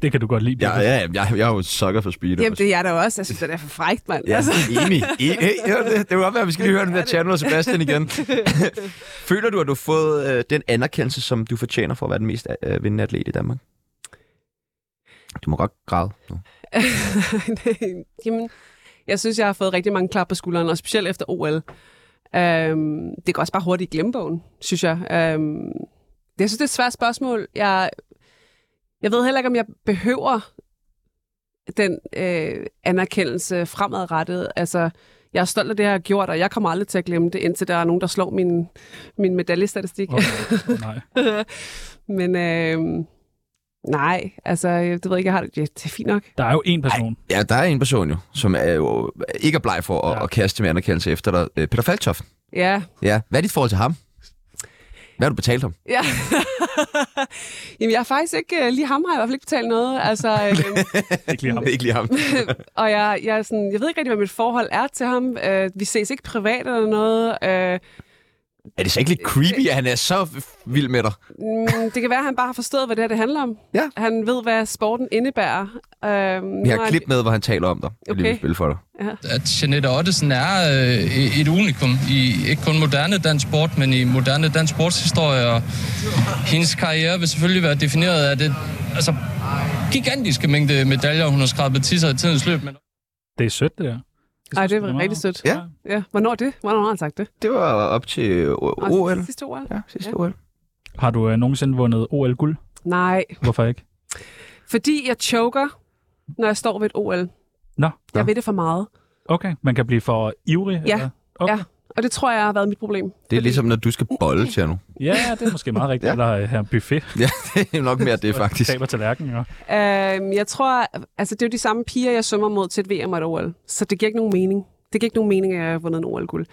Speaker 2: Det kan du godt lide. Birgit.
Speaker 1: ja, jeg, jeg er jo sukker for altså. speed.
Speaker 4: Jamen, det er jeg da også. Jeg synes, det er for frækt, mand.
Speaker 1: Ja, altså. enig. E- hey, ja, det, det må godt være, at vi skal lige høre den der Channel og Sebastian igen. Føler du, at du har fået øh, den anerkendelse, som du fortjener for at være den mest øh, vindende atlet i Danmark? Du må godt græde nu.
Speaker 4: Jamen, jeg synes, jeg har fået rigtig mange klap på skulderen, og specielt efter OL. Øhm, det går også bare hurtigt i glemmebogen, synes jeg. Øhm, det- jeg synes, det er et svært spørgsmål. Jeg, jeg ved heller ikke, om jeg behøver den øh, anerkendelse fremadrettet. Altså, jeg er stolt af det, jeg har gjort, og jeg kommer aldrig til at glemme det, indtil der er nogen, der slår min, min medaljestatistik.
Speaker 2: Åh, nej. nej.
Speaker 4: Men øh, nej, altså, jeg, det ved jeg ikke, jeg har det, ja, det er fint nok.
Speaker 2: Der er jo en person.
Speaker 1: Ja, der er en person jo, som er jo øh, ikke er bleg for at, ja.
Speaker 2: Ja.
Speaker 1: at kaste med anerkendelse efter dig. Øh, Peter Falktoft.
Speaker 4: Ja,
Speaker 1: Ja. Hvad er dit forhold til ham? Hvad har du betalt ham?
Speaker 4: Ja. Jamen, jeg har faktisk ikke... øh, Lige ham har jeg i hvert fald ikke betalt noget. Altså, øhm,
Speaker 2: Ikke lige ham.
Speaker 1: Ikke lige ham.
Speaker 4: og jeg, jeg, er sådan, jeg ved ikke rigtig, hvad mit forhold er til ham. Øh, vi ses ikke privat eller noget. Øh,
Speaker 1: er det så ikke lidt creepy, at han er så vild med dig?
Speaker 4: mm, det kan være, at han bare har forstået, hvad det her det handler om.
Speaker 1: Ja.
Speaker 4: Han ved, hvad sporten indebærer. Øh,
Speaker 1: Vi har et klip med, hvor han taler om dig. Jeg lige vil
Speaker 4: Okay.
Speaker 1: spille for dig.
Speaker 6: at Janette Ottesen er øh, et unikum i ikke kun moderne dansk sport, men i moderne dansk sportshistorie. Og hendes karriere vil selvfølgelig være defineret af det altså, gigantiske mængde medaljer, hun har skrabet til sig i tidens løb. Men
Speaker 2: Det er sødt, det der.
Speaker 4: Ej,
Speaker 2: synes
Speaker 4: det
Speaker 2: jeg,
Speaker 4: var
Speaker 2: meget
Speaker 4: rigtig sødt.
Speaker 1: Ja.
Speaker 4: ja. Hvornår det? Hvornår har han sagt det?
Speaker 1: Det var op til øh, OL.
Speaker 4: Sidste OL?
Speaker 1: Ja, sidste
Speaker 4: Ja.
Speaker 1: OL.
Speaker 2: Har du øh, nogensinde vundet OL-guld?
Speaker 4: Nej,
Speaker 2: Hvorfor ikke?
Speaker 4: fordi jeg choker, når jeg står ved et OL.
Speaker 2: Nå,
Speaker 4: Jeg ved det for meget.
Speaker 2: okay. Man kan blive for ivrig?
Speaker 4: Ja.
Speaker 2: Eller? Okay.
Speaker 4: Ja. Og det tror jeg har været mit problem.
Speaker 1: Det er ligesom, når du skal bolle til nu.
Speaker 2: ja, det er måske meget
Speaker 1: Ja.
Speaker 2: rigtigt. ja. Eller øh, have en buffet.
Speaker 1: Ja, det er nok mere det, faktisk.
Speaker 2: Taber tallerkenen, og
Speaker 4: Øhm, jeg tror, altså det er jo de samme piger, jeg svømmer mod til et VM og et OL. Så det giver ikke nogen mening. Det giver ikke nogen mening, at jeg har vundet en OL-guld.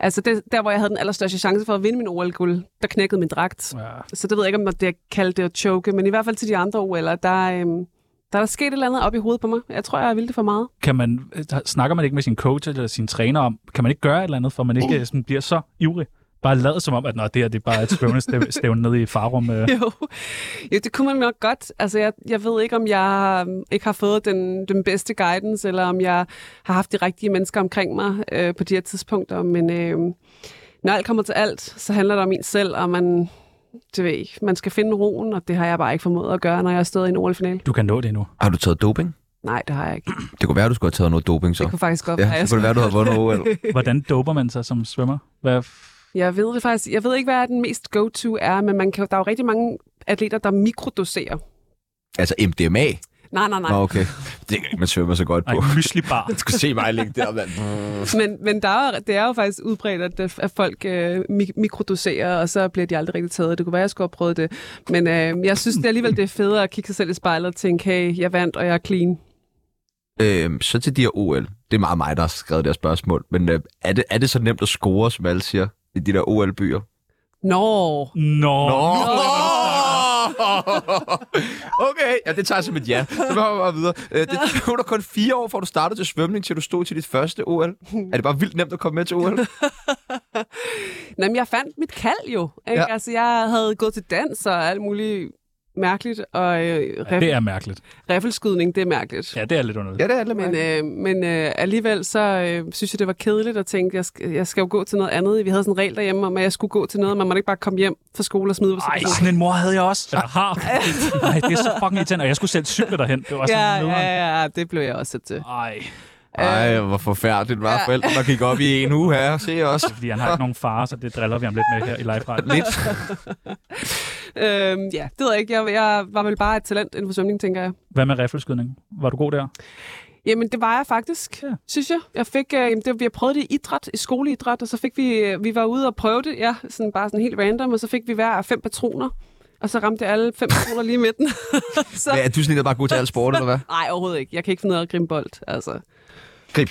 Speaker 4: Altså det, der, hvor jeg havde den allerstørste chance for at vinde min OL-guld, der knækkede min dragt.
Speaker 2: ja,
Speaker 4: Så det ved jeg ikke, om det er kaldt det at choke, men i hvert fald til de andre OL'er, der, øhm, der er der sket et eller andet op i hovedet på mig. Jeg tror, jeg har vildt det for meget.
Speaker 2: kan man, øh, snakker man ikke med sin coach eller sin træner om, kan man ikke gøre et eller andet, for man
Speaker 1: Uh.
Speaker 2: ikke øh, sådan, bliver så ivrig? Bare lad som om, at Nå, det her det er bare et svømmestævn nede i Farum. Øh.
Speaker 4: Jo. jo, det kunne man nok godt. Altså, jeg, jeg ved ikke, om jeg øhm, ikke har fået den, den bedste guidance, eller om jeg har haft de rigtige mennesker omkring mig øh, på de her tidspunkter. Men øh, når alt kommer til alt, så handler det om en selv, og man, du ved, man skal finde roen, og det har jeg bare ikke formået at gøre, når jeg har stået i en OL-final.
Speaker 2: Du kan nå det nu.
Speaker 1: Har du taget doping?
Speaker 4: Nej, det har jeg ikke.
Speaker 1: Det kunne være, du skulle have taget noget doping, så.
Speaker 4: Det kunne faktisk godt være.
Speaker 1: ja, så kunne det være, du havde vundet OL.
Speaker 2: Hvordan doper man sig som svømmer? Hvad f-
Speaker 4: Jeg ved det faktisk. Jeg ved ikke, hvad den mest go-to er, men man kan, jo- der er jo rigtig mange atleter, der mikrodoserer.
Speaker 1: Altså MDMA?
Speaker 4: Nej, nej, nej.
Speaker 1: Nå, okay. Det kan man svømme så godt
Speaker 2: Ej,
Speaker 1: på.
Speaker 2: myslibar.
Speaker 1: Du skulle se mig ligge der, mand.
Speaker 4: Men, men der er, jo- det er jo faktisk udbredt, at, det- at folk øh, mik- mikrodoserer, og så bliver de aldrig rigtig taget. Det kunne være, jeg skulle have prøvet det. Men øh, jeg synes det alligevel, det er federe at kigge sig selv i spejlet og tænke, hey, jeg vandt, og jeg er clean.
Speaker 1: øhm, så til de her OL. Det er meget mig, der har skrevet det her spørgsmål. Men øh, er, det, er det så nemt at score, som alle siger, i de der OL-byer?
Speaker 4: Nå,
Speaker 2: Nå.
Speaker 1: Okay, ja, det tager jeg som et ja. Så kommer vi bare videre. Øh, Det tog dig kun fire år, fra du startede til svømning, til du stod til dit første OL. Er det bare vildt nemt at komme med til OL?
Speaker 4: Nå, men jeg fandt mit kald jo. Ikke?
Speaker 1: Ja.
Speaker 4: Ja. Altså, jeg havde gået til dans og alt muligt mærkeligt, og øh,
Speaker 2: Det
Speaker 4: rif-
Speaker 2: er mærkeligt.
Speaker 4: riffelskydning, det er mærkeligt.
Speaker 2: Ja, det er lidt underligt.
Speaker 1: Ja, det er lidt
Speaker 4: Men, øh, men øh, alligevel så øh, synes jeg, det var kedeligt at tænke, jeg skal, jeg skal jo gå til noget andet. Vi havde sådan en regel derhjemme om, at jeg skulle gå til noget, man måtte ikke bare komme hjem fra skole og smide ud.
Speaker 2: Ej, sådan en mor havde jeg også. Eller har. Nej, det er så fucking irriterende. Og jeg skulle selv cykle derhen. Det var sådan ja,
Speaker 4: Ja,
Speaker 2: ja, ja.
Speaker 4: ja, ja, det blev jeg også sat til.
Speaker 2: Ej,
Speaker 1: Ej, hvor forfærdeligt var forældre, der gik op i en uge her. Se os.
Speaker 2: fordi han har ikke nogen far, så det driller vi ham lidt med her i live
Speaker 1: Lidt.
Speaker 4: Øhm, ja, det ved jeg ikke. Jeg, jeg var vel bare et talent inden for svømning, tænker jeg.
Speaker 2: Hvad med riffelskydning? Var du god der?
Speaker 4: Jamen, det var jeg faktisk,
Speaker 2: Ja.
Speaker 4: ja. synes jeg. jeg fik, øh, jamen, det, vi har prøvet det i idræt, i skoleidræt, og så fik vi, øh, vi var ude og prøve det, ja, sådan bare sådan helt random, og så fik vi hver fem patroner, og så ramte jeg alle fem patroner lige i midten. så,
Speaker 1: Ja, er du sådan en, der bare er god til al sport, eller hvad?
Speaker 4: nej, overhovedet ikke. Jeg kan ikke finde ud af at gribe bold, altså.
Speaker 1: Grib.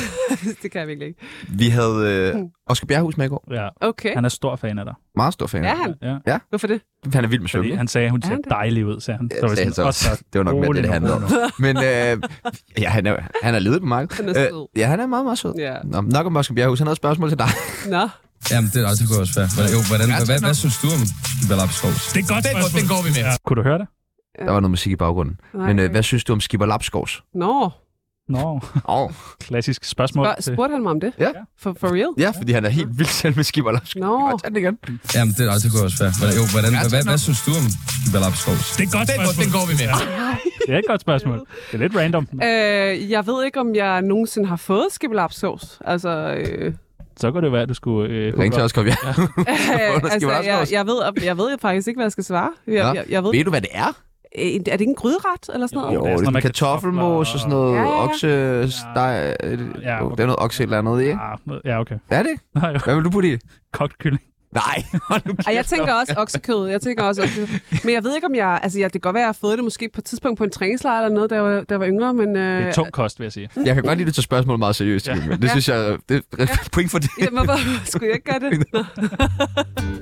Speaker 4: det kan jeg virkelig ikke.
Speaker 1: Vi havde øh, Oscar Bjerghus med i går.
Speaker 2: Ja.
Speaker 4: Okay.
Speaker 2: Han er stor fan af dig.
Speaker 1: Meget stor fan.
Speaker 4: Er han?
Speaker 2: Ja.
Speaker 4: Hvorfor det?
Speaker 1: Han er vild med
Speaker 2: Fordi
Speaker 1: svømning.
Speaker 2: han sagde, at hun
Speaker 4: Er
Speaker 2: ser
Speaker 4: han det?
Speaker 2: dejlig ud, sagde han. Så
Speaker 1: Ja,
Speaker 2: var jeg
Speaker 1: sagde han
Speaker 2: sådan,
Speaker 1: så også.
Speaker 2: "Også
Speaker 1: Det var nok mere
Speaker 2: rolig
Speaker 1: det, det
Speaker 2: nu,
Speaker 1: handlede om.
Speaker 2: rolig nu."
Speaker 1: Men øh, ja, han, er, han er ledet på markedet.
Speaker 4: Han er sød.
Speaker 1: Øh, ja, han er meget, meget sød.
Speaker 4: Ja.
Speaker 1: Nå, nok om Oscar Bjerghus. Han havde et spørgsmål til dig.
Speaker 4: Nå.
Speaker 6: Jamen, det, det kunne også være. Hvordan, jo, hvordan, hvad, hvad, hvad, synes du om Ballap Skovs?
Speaker 2: Det er et godt spørgsmål. Den går vi med. Ja. Kunne du høre det?
Speaker 1: Der var noget musik i baggrunden.
Speaker 4: Nej.
Speaker 1: Men øh, hvad synes du om Skipper Lapskovs?
Speaker 4: Nå,
Speaker 2: Nå,
Speaker 1: Åh. Oh.
Speaker 2: klassisk spørgsmål.
Speaker 4: Spørg-
Speaker 2: til-
Speaker 4: spurgte han mig om det?
Speaker 1: Ja.
Speaker 4: For, for real?
Speaker 1: Ja, fordi han er helt vildt selv med Skipper Lapskovs.
Speaker 4: Nå.
Speaker 1: Godt, tag den igen.
Speaker 6: Jamen, det, det kunne også være. Hvordan, jo, hvordan, hvad, hvad, hvad, synes du om Ballap Skovs?
Speaker 2: Det er et godt spørgsmål. Den går vi med. Det er et godt spørgsmål. Det er lidt random.
Speaker 4: Øh, jeg ved ikke, om jeg nogensinde har fået skibelapsovs. Altså, øh,
Speaker 2: Så kunne det være, at du skulle... Øh,
Speaker 1: Ring til Oscar Bjerghus.
Speaker 4: Øh, altså, jeg,
Speaker 1: skibelapsovs?
Speaker 4: jeg, ved, jeg ved faktisk ikke, hvad jeg skal svare. Jeg,
Speaker 1: Nå.
Speaker 4: jeg, jeg ved,
Speaker 1: Ved du, hvad det er?
Speaker 4: Øh, er det ikke en gryderet eller sådan noget?
Speaker 1: Jo,
Speaker 2: Jo, det er
Speaker 1: det
Speaker 2: sådan
Speaker 1: er
Speaker 2: noget
Speaker 1: kartoffelmos og sådan noget
Speaker 4: Ja, ja, ja.
Speaker 1: oksesteg. øh,
Speaker 2: Ja,
Speaker 1: jo, Det er noget okse eller andet, i, ikke?
Speaker 2: Ah, ja, okay.
Speaker 1: Er det?
Speaker 2: Nej,
Speaker 1: Hvad vil du putte i?
Speaker 2: kogt kylling.
Speaker 1: Nej, hold nu
Speaker 4: Ej, jeg tænker også oksekød. Jeg tænker også oksekød. Men jeg ved ikke, om jeg... Altså, ja, det kan godt være, at jeg har fået det måske på et tidspunkt på en træningslejr eller noget, da jeg var, da jeg var yngre, men... Øh,
Speaker 2: Det er tung kost, vil jeg sige.
Speaker 1: Jeg kan godt lide, at du tager spørgsmål meget seriøst, ja. men det synes jeg, det er point for det.
Speaker 4: Jamen, hvorfor skulle jeg ikke gøre det?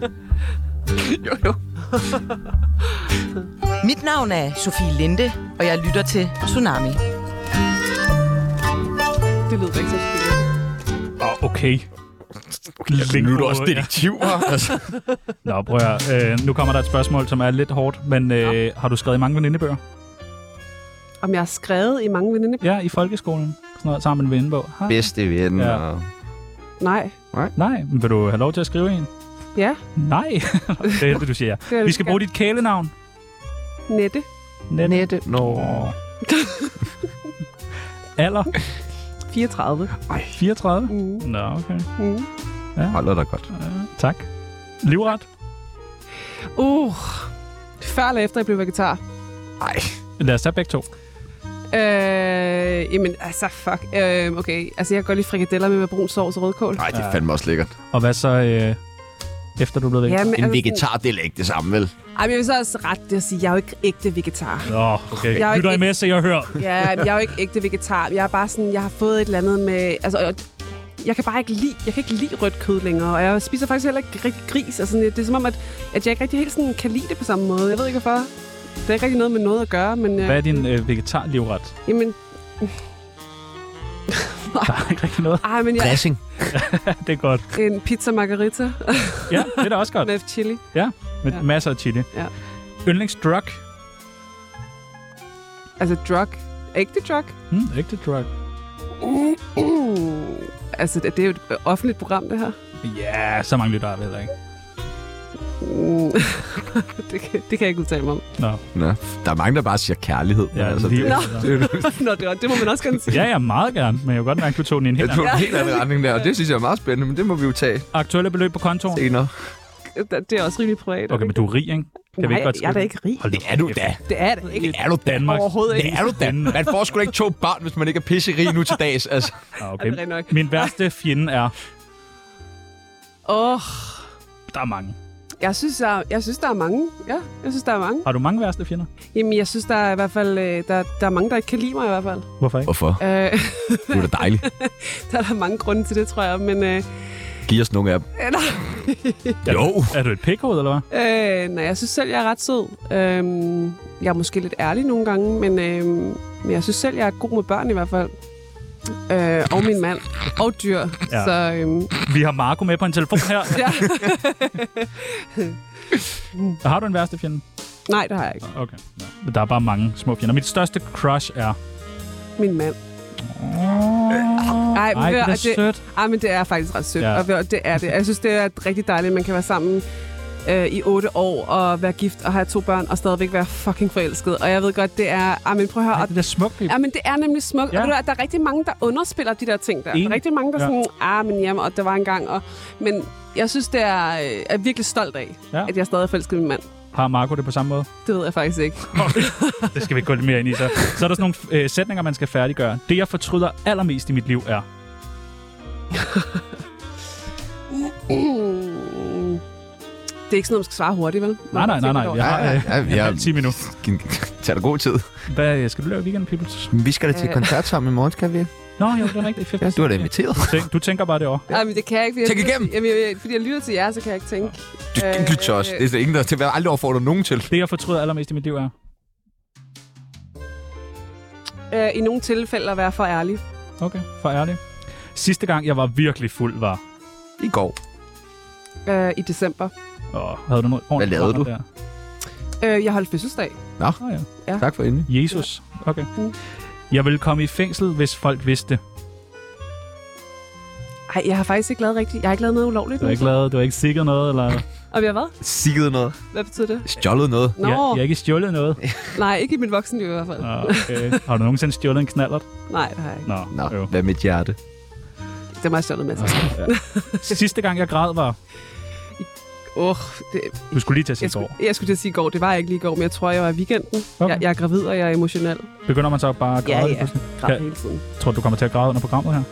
Speaker 4: Nå,
Speaker 1: jo, jo.
Speaker 5: Mit navn er Sofie Linde, og jeg lytter til Tsunami.
Speaker 4: det lyder ikke så skidt.
Speaker 2: Åh, oh, okay. Link
Speaker 1: Nu er du
Speaker 2: på-
Speaker 1: også detektiv her. Altså.
Speaker 2: Nå, prøv at, høre. øh, Nu kommer der et spørgsmål, som er lidt hårdt, men øh, har du skrevet i mange venindebøger?
Speaker 4: Om jeg har skrevet i mange veninde...
Speaker 2: Ja, i folkeskolen. Sådan noget, sammen med en venindebog. Ha?
Speaker 1: Bedste ven.
Speaker 2: Ja.
Speaker 1: Ja. Og...
Speaker 4: Nej.
Speaker 2: Nej, men vil du have lov til at skrive en?
Speaker 4: Ja,
Speaker 2: Nej, det er det, du siger.
Speaker 4: det er
Speaker 2: Vi skal bruge dit kælenavn.
Speaker 4: Nette.
Speaker 1: Nette. Nå.
Speaker 2: Åh. Alder?
Speaker 4: 34.
Speaker 2: 34?
Speaker 4: Mm.
Speaker 2: Nå, okay.
Speaker 4: Mm.
Speaker 1: Holder dig godt.
Speaker 2: Tak. Livret?
Speaker 4: Uh. Før eller efter, jeg blev vegetar.
Speaker 1: Nej.
Speaker 2: Lad os tage begge to.
Speaker 4: Øh, jamen, altså, fuck. Øh, okay, altså, jeg kan godt lide frikadeller med, med brun sovs og rødkål.
Speaker 1: Nej, det er fandme også lækkert.
Speaker 2: Og hvad så, øh, efter du er blevet væk?
Speaker 4: men,
Speaker 1: En
Speaker 4: altså,
Speaker 1: vegetar, det er da ikke det samme, vel?
Speaker 4: Ej, men jeg vil så også rette det og sige, jeg er jo ikke ægte vegetar.
Speaker 2: Nå, okay.
Speaker 4: Jeg er
Speaker 2: Lytter I
Speaker 4: ikke-
Speaker 2: med, så jeg hører.
Speaker 4: Ja, men jeg er jo ikke ægte vegetar. Jeg er bare sådan, jeg har fået et eller andet med... Altså, og- jeg kan bare ikke lide, jeg kan ikke lide rødt kød længere, og jeg spiser faktisk heller ikke rigtig gris. Altså, det er som om, at, at jeg ikke rigtig helt sådan kan lide det på samme måde. Jeg ved ikke, hvorfor. Det er ikke rigtig noget med noget at gøre, men... øh,
Speaker 2: Hvad er din øh, vegetarlivret?
Speaker 4: Jamen,
Speaker 2: Der er ikke rigtig noget.
Speaker 4: ej, men jeg...
Speaker 1: Dressing.
Speaker 2: Det er godt.
Speaker 4: En pizza margarita
Speaker 2: Ja, det er da også godt.
Speaker 4: med chili.
Speaker 2: Med
Speaker 4: Ja.
Speaker 2: masser af chili.
Speaker 4: Ja.
Speaker 2: Yndlingsdrug?
Speaker 4: Altså, drug. Ægte drug.
Speaker 2: Hmm, ægte drug.
Speaker 4: Uh. altså, det, det er jo et offentligt program, det her.
Speaker 2: Ja, så mange lytter har vi heller ikke.
Speaker 4: Mm. det, kan, det kan jeg ikke udtale mig om.
Speaker 1: Nå, der er mange, der bare siger kærlighed.
Speaker 2: Ja,
Speaker 1: altså,
Speaker 2: lige-
Speaker 1: det, det, det,
Speaker 4: Nå, det, det må man også gerne sige.
Speaker 2: Ja, ja, meget gerne, men jeg vil godt mærke, at du tog den i en helt
Speaker 1: det er
Speaker 2: anden.
Speaker 1: en helt anden retning der, og det synes jeg er meget spændende, men det må vi jo tage
Speaker 2: Aktuelle beløb på kontoen?
Speaker 1: senere.
Speaker 4: Det er også rimelig privat. er
Speaker 2: Okay,
Speaker 4: det
Speaker 2: men du er rig, ikke?
Speaker 4: ikke?
Speaker 2: vi
Speaker 4: Nej, jeg er da
Speaker 2: skrive-
Speaker 4: ikke rig.
Speaker 2: Hold
Speaker 1: Det er du da.
Speaker 4: Det er det ikke.
Speaker 1: Det er du da.
Speaker 2: Danmark.
Speaker 4: Overhovedet ikke.
Speaker 1: Det er du da. Man får sgu da ikke to børn, hvis man ikke er pisserig nu til dags. Altså.
Speaker 2: Ah,
Speaker 4: Er det
Speaker 2: okay.
Speaker 4: rigtig nok?
Speaker 2: Min værste fjende er...
Speaker 4: Åh, oh,
Speaker 2: Der er mange.
Speaker 4: jeg, synes, der, jeg synes, der er mange. Ja, jeg synes, der er mange.
Speaker 2: Har du mange værste fjender?
Speaker 4: Jamen, jeg synes, der er i hvert fald... øh, Der, der er mange, der ikke kan lide mig i hvert fald.
Speaker 2: Hvorfor ikke?
Speaker 1: Hvorfor?
Speaker 4: Øh,
Speaker 1: Det er da dejligt.
Speaker 4: der er der mange grunde til det, tror jeg. Men øh,
Speaker 1: Giv os nogle af dem.
Speaker 4: eller,
Speaker 1: Jo.
Speaker 2: Er du et pikhoved, eller hvad?
Speaker 4: øh, nej, jeg synes selv, jeg er ret sød. Øh, jeg er måske lidt ærlig nogle gange, men, øh, men jeg synes selv, jeg er god med børn i hvert fald. Øh, og min mand. Og dyr.
Speaker 2: Ja.
Speaker 4: Ja. Så øh,
Speaker 2: Vi har Marco med på en telefon her.
Speaker 4: ja.
Speaker 2: Har du en værste fjende?
Speaker 4: nej, det har jeg ikke.
Speaker 2: Okay. Ja. Men Der er bare mange små fjender. Mit største crush er...
Speaker 4: Min mand. Øh, Ej, men
Speaker 2: Ej, det
Speaker 4: hør,
Speaker 2: er
Speaker 4: det-
Speaker 2: sødt.
Speaker 4: Ej, men det er faktisk ret sødt,
Speaker 2: Ja.
Speaker 4: ja. og ved- det er det. Jeg synes, det er rigtig dejligt, at man kan være sammen øh, i otte år og være gift og have to børn og stadigvæk være fucking forelsket. Og jeg ved godt, det er... Ej, men prøv at høre...
Speaker 2: Ej,
Speaker 4: og-
Speaker 2: det er da smukt, Pip.
Speaker 4: Ja, men det er nemlig smukt.
Speaker 2: Ja.
Speaker 4: Ja. Og ved du, hvad, der er rigtig mange, der underspiller de der ting der. Der
Speaker 2: Enig.
Speaker 4: er rigtig mange, der
Speaker 2: Ja.
Speaker 4: ja. sådan, ah, men jamen, og der var engang. Og, men jeg synes, det er, øh, er virkelig stolt af,
Speaker 2: Ja.
Speaker 4: ja. at jeg stadig er forelsket i min mand.
Speaker 2: Har Marco det på samme måde?
Speaker 4: Det ved jeg faktisk ikke.
Speaker 2: Det skal vi ikke gå lidt mere ind i, så. Så er der sådan nogle øh, sætninger, man skal færdiggøre. Det, jeg fortryder allermest i mit liv, er...
Speaker 4: Mm. Det er ikke sådan noget, man skal svare hurtigt, vel?
Speaker 2: Nej, nej, nej, nej. Jeg har
Speaker 1: Ja,
Speaker 2: øh,
Speaker 1: ja, ja,
Speaker 2: en
Speaker 1: ja.
Speaker 2: halv time endnu.
Speaker 1: Tag dig god tid.
Speaker 2: Hvad øh, skal du lave i weekenden, People?
Speaker 1: Vi skal da til
Speaker 4: Øh.
Speaker 1: koncert sammen i morgen, skal vi?
Speaker 2: Nå, jo, det er rigtigt. Fedt.
Speaker 1: Ja, du er da inviteret.
Speaker 2: Tænk- Du tænker bare det over.
Speaker 4: Nej, men det kan jeg ikke. fordi jeg
Speaker 1: Tænk
Speaker 4: lytter-
Speaker 1: igennem.
Speaker 4: Jamen, jeg, fordi jeg lytter til jer, så kan jeg ikke tænke.
Speaker 1: Du skal Øh, ikke lytte til os. Det er der ingen, der til jeg aldrig overfor nogen til.
Speaker 2: Det, jeg fortryder allermest i mit liv, er...
Speaker 4: øh, i nogle tilfælde at være for ærlig.
Speaker 2: Okay, for ærlig. Sidste gang, jeg var virkelig fuld, var...
Speaker 1: I går.
Speaker 4: Øh, I december.
Speaker 2: Åh, havde du noget ordentligt
Speaker 1: lavede du?
Speaker 2: program Der?
Speaker 4: Øh, jeg holdt fødselsdag.
Speaker 2: Nå ja.
Speaker 1: Tak for inden.
Speaker 2: Jesus. Okay.
Speaker 4: Mm.
Speaker 2: Jeg ville komme i fængsel, hvis folk vidste. Du
Speaker 4: Ej, jeg har faktisk ikke lavet rigtigt. Jeg har ikke lavet noget ulovligt.
Speaker 2: har ikke lavet, du har ikke sikret noget, eller...
Speaker 4: Og vi har hvad?
Speaker 1: Sigget noget.
Speaker 4: Hvad betyder det?
Speaker 1: Stjålet noget.
Speaker 4: Nå,
Speaker 2: Jeg, jeg har ikke stjålet noget.
Speaker 4: nej, ikke i mit voksenliv i hvert fald.
Speaker 2: Nå, okay. Har du nogensinde stjålet en knallert?
Speaker 4: Nej, det har jeg ikke.
Speaker 2: Nå,
Speaker 1: Nå,
Speaker 2: jo.
Speaker 1: hvad med mit hjerte?
Speaker 4: Det er meget stjålet med. Åh,
Speaker 2: Ja. Sidste gang, jeg græd, var...
Speaker 4: oh, det...
Speaker 2: Du skulle lige til at sige
Speaker 4: Jeg skulle,
Speaker 2: går.
Speaker 4: jeg skulle til at sige i går. Det var jeg ikke lige i går, men jeg tror, jeg var i weekenden.
Speaker 2: Okay.
Speaker 4: Okay. Jeg, jeg er gravid, og jeg er emotionel.
Speaker 2: Begynder man så bare at græde?
Speaker 4: Ja,
Speaker 2: lige
Speaker 4: ja.
Speaker 2: pludselig?
Speaker 4: Græd
Speaker 2: Ja.
Speaker 4: hele tiden.
Speaker 2: Tror du, du kommer til at græde under programmet her?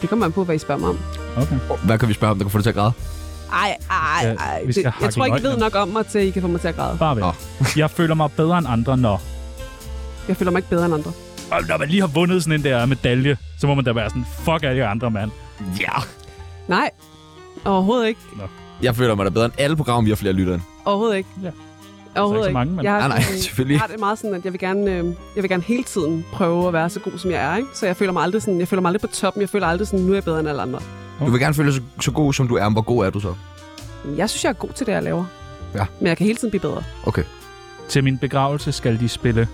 Speaker 4: Det kommer man på, hvad I spørger mig om.
Speaker 2: Okay.
Speaker 1: Hvad kan vi spørge om, der kan få dig til at græde?
Speaker 4: Ej, ej,
Speaker 2: Ja,
Speaker 4: ej.
Speaker 2: vi skal
Speaker 4: Det, jeg
Speaker 2: hakke
Speaker 4: tror
Speaker 2: i Ah.
Speaker 4: ikke, I ved
Speaker 2: nøglen.
Speaker 4: nok om mig, til I kan få mig til at græde.
Speaker 2: Bare vent.
Speaker 1: Nå.
Speaker 2: Jeg føler mig bedre end andre, når...
Speaker 4: Jeg føler mig ikke bedre end andre.
Speaker 2: Og når man lige har vundet sådan en der medalje, så må man da være sådan, fuck alle jer andre, mand.
Speaker 1: Ja.
Speaker 4: Nej, overhovedet ikke.
Speaker 1: Jeg føler mig da bedre end alle programmer, vi har flere lyttere end.
Speaker 4: Overhovedet ikke.
Speaker 2: Ja.
Speaker 4: Overhovedet
Speaker 2: så
Speaker 4: ikke.
Speaker 2: mange, men-
Speaker 4: Jeg har
Speaker 1: Nej, nej,
Speaker 4: sådan-
Speaker 1: selvfølgelig.
Speaker 4: Jeg har det meget sådan, at jeg vil gerne, øh, jeg vil gerne hele tiden prøve at være så god, som jeg er. Ikke? Så jeg føler mig aldrig sådan, jeg føler mig aldrig på toppen. Jeg føler aldrig sådan, nu er jeg bedre end alle andre.
Speaker 1: Du vil gerne føle dig så, så god, som du er, men hvor god er du så?
Speaker 4: Men Jeg synes, jeg er god til det, jeg laver.
Speaker 1: Ja.
Speaker 4: Men jeg kan hele tiden blive bedre.
Speaker 1: Okay.
Speaker 2: Til min begravelse skal de spille.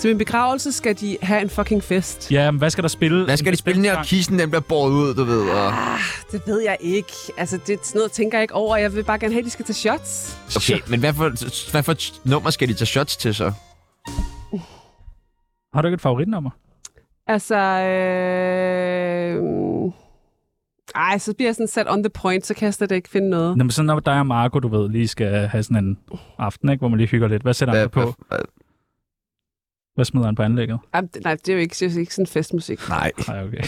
Speaker 4: Til min begravelse skal de have en fucking fest.
Speaker 2: Ja, men hvad skal der spille?
Speaker 1: Hvad skal
Speaker 2: En
Speaker 1: de spille,
Speaker 2: bestemt
Speaker 1: når
Speaker 2: sang?
Speaker 1: kisten den bliver båret ud, du ved? Og...
Speaker 4: Det ved jeg ikke. Altså, det er sådan noget, tænker jeg ikke over. Jeg vil bare gerne have, at de skal tage shots.
Speaker 1: Okay, men hvad for, hvad for et nummer skal de tage shots til så?
Speaker 2: Har du ikke et favoritnummer?
Speaker 4: Altså, øh... Ej, så bliver jeg sådan sat on the point, så kan jeg slet ikke finde noget.
Speaker 2: Nå, men sådan når dig og Marco, du ved, lige skal have sådan en aften, ikke, hvor man lige hygger lidt. Hvad sætter
Speaker 1: Hvad,
Speaker 2: han på?
Speaker 1: hvad,
Speaker 2: Hvad smider han på anlægget?
Speaker 4: Ej, det- nej, det er jo ikke, det er jo ikke sådan festmusik.
Speaker 1: nej,
Speaker 2: Nej, okay.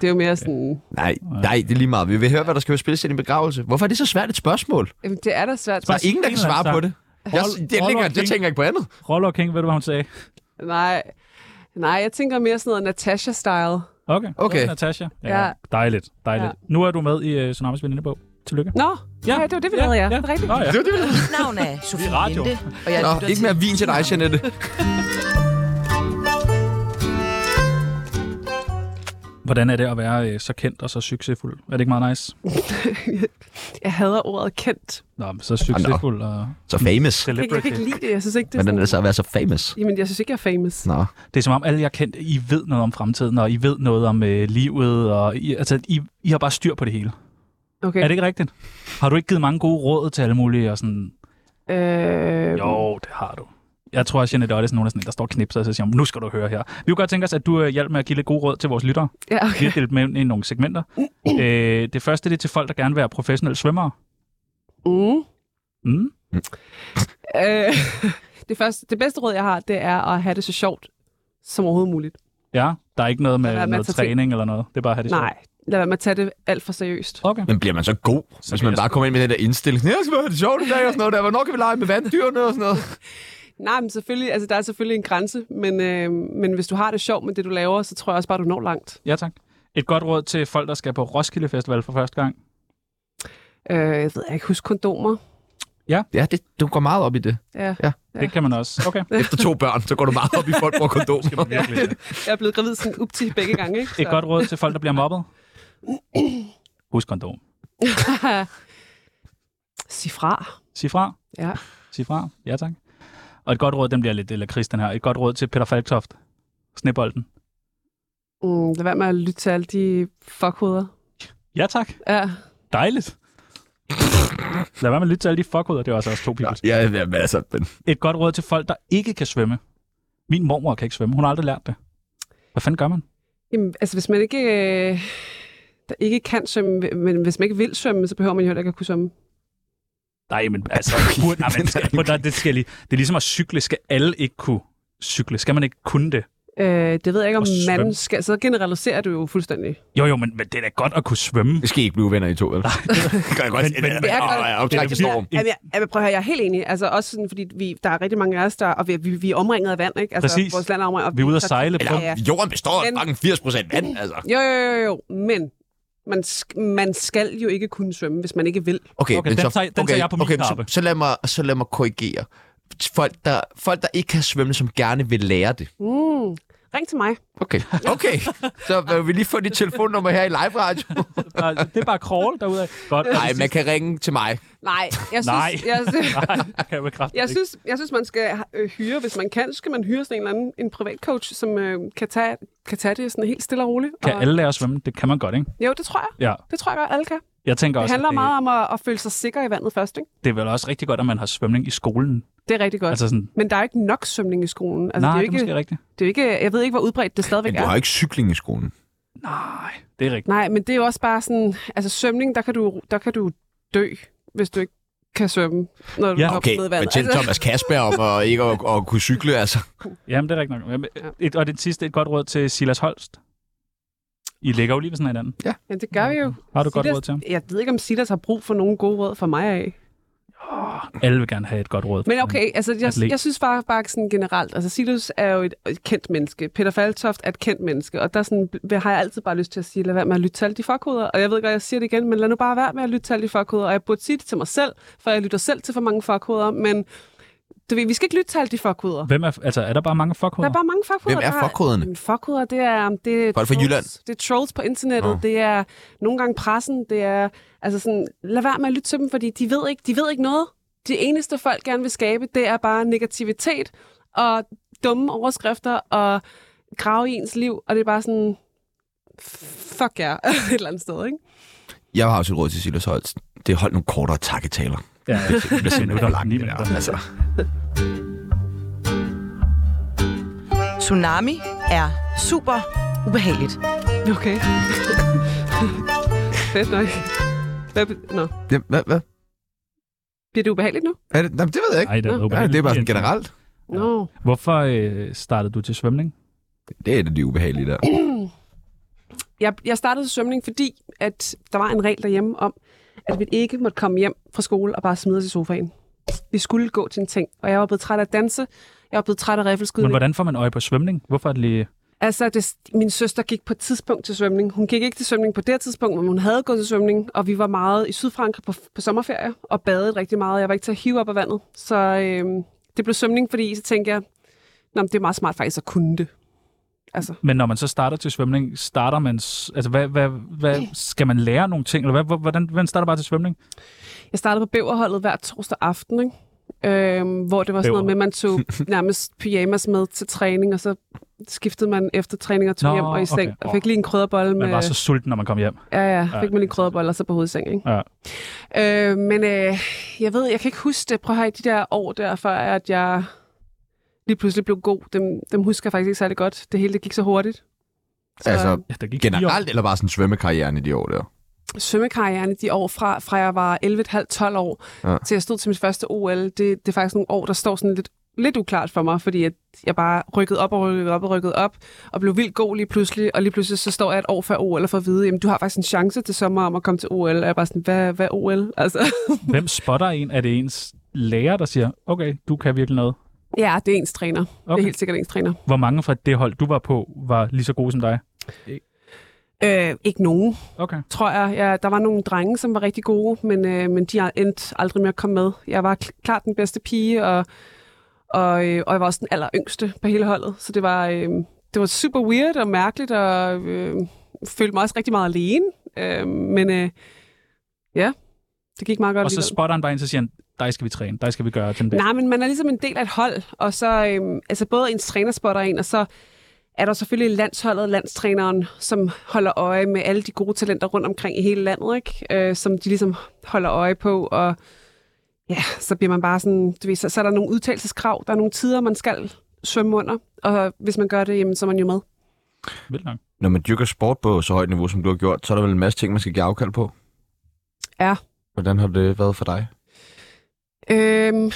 Speaker 4: Det er jo mere sådan...
Speaker 1: nej, nej, det er lige meget. Vi vil høre, hvad der skal spilles til din begravelse. Hvorfor er det så svært et spørgsmål?
Speaker 4: Jamen, det er da svært.
Speaker 1: Der er ingen, der kan svare på det. Jeg, det, ligger, jeg tænker ikke på andet.
Speaker 2: Roller King, ved du, hvad hun sagde?
Speaker 4: Nej. Nej, jeg tænker mere sådan noget Natasha-style.
Speaker 2: Okay.
Speaker 1: Okay.
Speaker 2: Så, Natasha. Ja.
Speaker 4: Ja.
Speaker 2: Dejligt, dejligt. Ja. Nu er du med i uh, Tsunamis venindebog. Tillykke.
Speaker 4: Nå, ja, det var det, vi lavede, ja. Det er rigtigt.
Speaker 2: Nå, ja.
Speaker 1: Det var det, vi havde.
Speaker 5: Mit navn er Sofie
Speaker 2: radio.
Speaker 5: Linde, og jeg
Speaker 1: Nå,
Speaker 5: lytter
Speaker 1: ikke
Speaker 5: til
Speaker 1: mere vin til dig, Jeanette.
Speaker 2: Hvordan er det at være uh, så kendt og så succesfuld? Er det ikke meget nice?
Speaker 4: Jeg hader ordet kendt.
Speaker 2: Nå, men så succesfuld og
Speaker 1: Så famous.
Speaker 4: Jeg kan, jeg kan ikke lide det. Jeg synes ikke, det er
Speaker 1: Hvordan er
Speaker 4: sådan...
Speaker 1: det så at være så famous?
Speaker 4: Jamen, jeg synes ikke, jeg er famous.
Speaker 1: Nå.
Speaker 2: Det er som om alle jer kendte, I ved noget om fremtiden, og I ved noget om øh, livet, og I, altså, I, I har bare styr på det hele.
Speaker 4: Okay.
Speaker 2: Er det ikke rigtigt? Har du ikke givet mange gode råd til alle mulige? Og sådan,
Speaker 4: Øh,
Speaker 2: jo, det har du. Jeg tror, at Jeanette Ottesen er nogen, der sådan en, der står og knipser, og så siger, hun, nu skal du høre her. Vi kunne godt tænke os, at du øh, hjalp med at give lidt gode råd til vores lyttere.
Speaker 4: Ja,
Speaker 2: Vi
Speaker 4: okay.
Speaker 2: har delt dem ind i nogle segmenter.
Speaker 4: Uh.
Speaker 2: øh, det første det er til folk, der gerne vil være professionelle svømmere.
Speaker 4: Mm.
Speaker 2: Mm.
Speaker 4: Øh, det, første, det bedste råd, jeg har, det er at have det så sjovt som overhovedet muligt.
Speaker 2: Ja, der er ikke noget med
Speaker 4: Lad være
Speaker 2: noget
Speaker 4: med at tage ting.
Speaker 2: træning eller noget. Det er bare at have det sjovt.
Speaker 4: Nej, lad være med at tage det alt for seriøst.
Speaker 2: Okay.
Speaker 1: Men bliver man så god, så hvis
Speaker 2: bliver
Speaker 1: man
Speaker 2: jeg
Speaker 1: bare kommer ind med den der indstilling? sådan, Jeg skal være det sjovt i dag og sådan noget der. Hvornår kan vi lege med vanddyrene og sådan noget?
Speaker 4: Nej, men selvfølgelig, altså, der er selvfølgelig en grænse, men, øh, men hvis du har det sjovt med det, du laver, så tror jeg også bare, du når langt.
Speaker 2: Ja, tak. Et godt råd til folk, der skal på Roskilde Festival for første gang.
Speaker 4: Øh, jeg ved ikke, husk kondomer.
Speaker 1: Ja, det, du går meget op i det.
Speaker 4: Ja.
Speaker 2: Ja.
Speaker 4: Ja.
Speaker 2: Det kan man også. Okay.
Speaker 1: Efter to børn, så går du meget op i folk bruger kondom.
Speaker 4: Jeg er blevet gravid sådan up til begge gange, ikke?
Speaker 2: Et godt råd til folk, der bliver mobbet.
Speaker 4: Uh.
Speaker 2: Husk kondom.
Speaker 4: Sig fra.
Speaker 2: Sig fra.
Speaker 4: Ja.
Speaker 2: Sig fra. Ja, tak. Og et godt råd, den bliver lidt lakrids, den her. Et godt råd til Peter Falktoft. Snebolden.
Speaker 4: Mm, lad være med at lytte til alle de fuckhoveder.
Speaker 2: Ja, tak.
Speaker 4: Ja.
Speaker 2: Dejligt. Lad være med at lytte til alle de fuckhoveder. Det var altså også to people.
Speaker 1: Ja, ja, men altså, men
Speaker 2: Et godt råd til folk, der ikke kan svømme. Min mormor kan ikke svømme. Hun har aldrig lært det. Hvad fanden gør man?
Speaker 4: Jamen, altså, hvis man ikke, øh, der ikke kan svømme, men hvis man ikke vil svømme, så behøver man jo heller ikke at kunne svømme.
Speaker 2: Nej, men altså, burde, nej, men skal, prøv, der, det, skal lige, det er ligesom at cykle. Skal alle ikke kunne cykle? Skal man ikke kunne det?
Speaker 4: Øh, det ved jeg ikke, om
Speaker 2: Og svømme.
Speaker 4: man skal. Så generaliserer du jo fuldstændig.
Speaker 2: Jo, jo, men, men det er da godt at kunne svømme.
Speaker 1: vi skal ikke blive venner i to, vel? kan jeg godt
Speaker 2: Men- men-
Speaker 4: Det er godt.
Speaker 1: Åh, ja, optræk til storm.
Speaker 4: Jamen, jeg, jamen, prøv at høre, jeg er helt enig. Altså, også sådan, fordi vi, der er rigtig mange af os, der, og vi, vi, vi er omringet af vand, ikke? Altså,
Speaker 2: Præcis.
Speaker 4: Vores land er omringet. og
Speaker 2: Vi er ude at
Speaker 4: så-
Speaker 2: sejle.
Speaker 4: Ja, ja.
Speaker 1: Jorden består af
Speaker 4: Men-
Speaker 1: fucking 80 procent vand, altså.
Speaker 4: Jo, jo, jo, jo, men man, sk- man skal jo ikke kunne svømme, hvis man ikke vil.
Speaker 1: Okay,
Speaker 2: Okay,
Speaker 1: men
Speaker 2: den
Speaker 1: så,
Speaker 2: tager- den tager jeg på min
Speaker 1: okay, men
Speaker 2: kappe.
Speaker 1: Så, så, lad mig, så lad mig korrigere. Folk der, folk, der ikke kan svømme, som gerne vil lære det.
Speaker 4: Mm. Ring til mig.
Speaker 1: Okay. Okay. Så vil vi lige få dit telefonnummer her i live radio?
Speaker 2: Der, altså, det er bare crawl derude. Godt.
Speaker 1: Nej, man kan ringe til mig.
Speaker 4: Nej, jeg synes,
Speaker 2: Nej.
Speaker 4: Jeg,
Speaker 2: Nej, det kan jeg bekræfte.
Speaker 4: jeg,
Speaker 2: ikke.
Speaker 4: synes, jeg synes, man skal øh, hyre, hvis man kan, så skal man hyre sådan en eller anden en privatcoach, som øh, kan, tage, kan tage det sådan helt stille og roligt.
Speaker 2: Kan
Speaker 4: og,
Speaker 2: alle lære at svømme? Det kan man godt, ikke?
Speaker 4: Jo, det tror jeg.
Speaker 2: Ja.
Speaker 4: Det tror jeg godt, alle kan.
Speaker 2: Jeg tænker
Speaker 4: Det
Speaker 2: også,
Speaker 4: handler
Speaker 2: at
Speaker 4: meget om at, at føle sig sikker i vandet først, ikke?
Speaker 2: det, det er vel også rigtig godt, at man har svømning i skolen.
Speaker 4: Det er rigtig godt.
Speaker 2: Altså sådan,
Speaker 4: Men der er ikke nok svømning i skolen. Altså,
Speaker 2: nej,
Speaker 4: det
Speaker 2: det
Speaker 4: er jo
Speaker 2: er,
Speaker 4: ikke,
Speaker 2: måske rigtigt.
Speaker 4: det er jo ikke, jeg ved ikke, hvor udbredt det stadigvæk er.
Speaker 1: ikke cykling i skolen.
Speaker 2: Nej, det er rigtigt.
Speaker 4: Nej, men det er jo også bare sådan, altså svømning, der kan du, der kan du dø, hvis du ikke kan svømme, når du
Speaker 2: Ja.
Speaker 4: hopper
Speaker 1: Okay,
Speaker 4: ned i
Speaker 1: men
Speaker 4: vandet. Altså,
Speaker 1: til Thomas Kasper om at ikke at, at kunne cykle, altså.
Speaker 2: Jamen, det er rigtigt nok. Jamen, Et, og det sidste, et godt råd til Silas Holst. I ligger jo lige ved sådan hinanden.
Speaker 4: ja, det gør vi jo.
Speaker 2: Har du et godt
Speaker 4: Silas-
Speaker 2: råd til ham?
Speaker 4: Jeg ved ikke, om Silas har brug for nogen gode råd fra mig af.
Speaker 2: Alle vil gerne have et godt råd.
Speaker 4: Men okay, altså,
Speaker 2: Atlet.
Speaker 4: jeg, jeg synes bare, bare sådan generelt, altså Silas er jo et, et kendt menneske. Peter Faltoft er et kendt menneske, og der sådan, hvad har jeg altid bare lyst til at sige, lad være med at lytte til alle de fuckhoveder. Og jeg ved godt, jeg siger det igen, men lad nu bare være med at lytte til alle de fuckhoveder. Og jeg burde sige det til mig selv, for jeg lytter selv til for mange fuckhoveder, men du ved, vi skal ikke lytte til alle de fuckhoveder.
Speaker 2: Hvem er, altså, er der bare mange
Speaker 4: Der
Speaker 2: fuckhoveder?
Speaker 4: er bare mange fuckhoveder.
Speaker 1: Hvem er
Speaker 4: der har-
Speaker 1: fuckhovederne?
Speaker 4: Jamen, Fuckhoveder, det er... Det er
Speaker 1: Folk fra
Speaker 4: trolls.
Speaker 1: Jylland.
Speaker 4: Det er trolls på internettet.
Speaker 1: Nå.
Speaker 4: Det er nogle gange pressen. Det er... Altså sådan, lad være med at lytte til dem, fordi de ved ikke, de ved ikke noget. Det eneste, folk gerne vil skabe, det er bare negativitet og dumme overskrifter og grave i ens liv. Og det er bare sådan... Fuck jer, et eller andet sted, ikke?
Speaker 1: Jeg har også et råd til Silas Holst. Det er hold nogle kortere takketaler.
Speaker 2: Ja,
Speaker 1: Det bliver simpelthen
Speaker 2: Minutter,
Speaker 1: for langt,
Speaker 2: ni
Speaker 1: det der.
Speaker 2: minutter.
Speaker 1: Altså.
Speaker 5: Tsunami er super ubehageligt.
Speaker 4: Okay. Fedt nok. Hvad, be- Nå,
Speaker 1: Det, hvad, hvad?
Speaker 4: bliver det ubehageligt nu?
Speaker 1: Er det, jamen, det ved jeg ikke.
Speaker 2: Ej, det er,
Speaker 1: Ja,
Speaker 2: ubehageligt.
Speaker 1: det er bare sådan generelt.
Speaker 4: Nå.
Speaker 2: Hvorfor øh, startede du til svømning?
Speaker 1: Det er et af de ubehagelige der.
Speaker 4: jeg, jeg startede til svømning, fordi at der var en regel derhjemme om, at vi ikke måtte komme hjem fra skole og bare smide os i sofaen. Vi skulle gå til en ting, og jeg var blevet træt af at danse. Jeg var blevet træt af
Speaker 2: Men
Speaker 4: riffelskydning.
Speaker 2: hvordan får man øje på svømning? Hvorfor er det lige...
Speaker 4: Altså, det, min søster gik på et tidspunkt til svømning. Hun gik ikke til svømning på det tidspunkt, men hun havde gået til svømning, og vi var meget i Sydfrankrig på, på sommerferie og badede rigtig meget. Jeg var ikke til at hive op af vandet, så øhm, det blev svømning, fordi så tænkte jeg, Nå, men det er meget smart faktisk at kunne det. Altså,
Speaker 2: Men når man så starter til svømning, starter man... s- Altså, hvad, hvad, hvad skal man lære nogle ting? Eller hvad, hvor- hvordan, hvordan starter bare til svømning?
Speaker 4: Jeg startede på bæverholdet hver torsdag aften, ikke? Øhm, hvor det var sådan noget
Speaker 2: Bæver.
Speaker 4: med, at man tog nærmest pyjamas med til træning, og så skiftede man efter træning og tog
Speaker 2: Nå,
Speaker 4: Nå, hjem og i seng,
Speaker 2: okay.
Speaker 4: okay. og fik lige en krydderbolle med...
Speaker 2: Man var så sulten, når man kom hjem.
Speaker 4: Ja, ja.
Speaker 2: Ja,
Speaker 4: Fik man lige krydderboller så på hovedseng, ikke?
Speaker 2: Ja.
Speaker 4: Øh, men øh, jeg ved, jeg kan ikke huske det. Prøv at have de der år der, før at jeg lige pludselig blev god. Dem, dem husker jeg faktisk ikke særlig godt. Det hele det gik så hurtigt. Så
Speaker 1: Altså,
Speaker 2: Ja, der gik fire år.
Speaker 1: generelt, eller bare sådan svømmekarrieren i de år der?
Speaker 4: svømmekarrieren i de år, fra, fra jeg var 11,5-12 år,
Speaker 1: Ja.
Speaker 4: ja. til jeg stod til mit første OL, det, det er faktisk nogle år, der står sådan lidt, lidt uklart for mig, fordi at jeg bare rykkede op og rykkede op og rykkede op, og blev vildt god lige pludselig, og lige pludselig så står jeg et år før OL og får at vide, jamen du har faktisk en chance til sommer om at komme til OL, og jeg er bare sådan, hvad, hvad er OL? Altså,
Speaker 2: Hvem spotter en? Er det ens lærer, der siger, okay, du kan virkelig noget?
Speaker 4: ja, det er ens træner. Okay. Det
Speaker 2: Okay.
Speaker 4: er helt sikkert ens træner.
Speaker 2: Hvor mange fra det hold, du var på, var lige så gode som dig?
Speaker 4: Øh, ikke nogen.
Speaker 2: Okay.
Speaker 4: tror jeg. Ja, der var nogle drenge, som var rigtig gode, men, øh, men de endte aldrig med at komme med. Jeg var kl- klart den bedste pige, og, og, øh, og jeg var også den aller yngste på hele holdet. Så det var, øh, det var super weird og mærkeligt, og øh, følte mig også rigtig meget alene. Øh, men øh, ja, det gik meget godt
Speaker 2: Og så
Speaker 4: alligevel.
Speaker 2: spotter han bare en, så siger han, dig skal vi træne, dig skal vi gøre den dag.
Speaker 4: Nej, men man er ligesom en del af et hold, og så øhm, altså både ens træner spotter en, og så er der selvfølgelig landsholdet, landstræneren, som holder øje med alle de gode talenter rundt omkring i hele landet, ikke? Øh, som de ligesom holder øje på, og ja, så bliver man bare sådan, du ved, så, så er der nogle udtalelseskrav, der er nogle tider, man skal svømme under, og hvis man gør det, jamen, så er man jo med.
Speaker 2: Vildt nok.
Speaker 1: Når man dyrker sport på så højt niveau, som du har gjort, så er der vel en masse ting, man skal give afkald på?
Speaker 4: Ja.
Speaker 1: Hvordan har det været for dig?
Speaker 4: Øhm,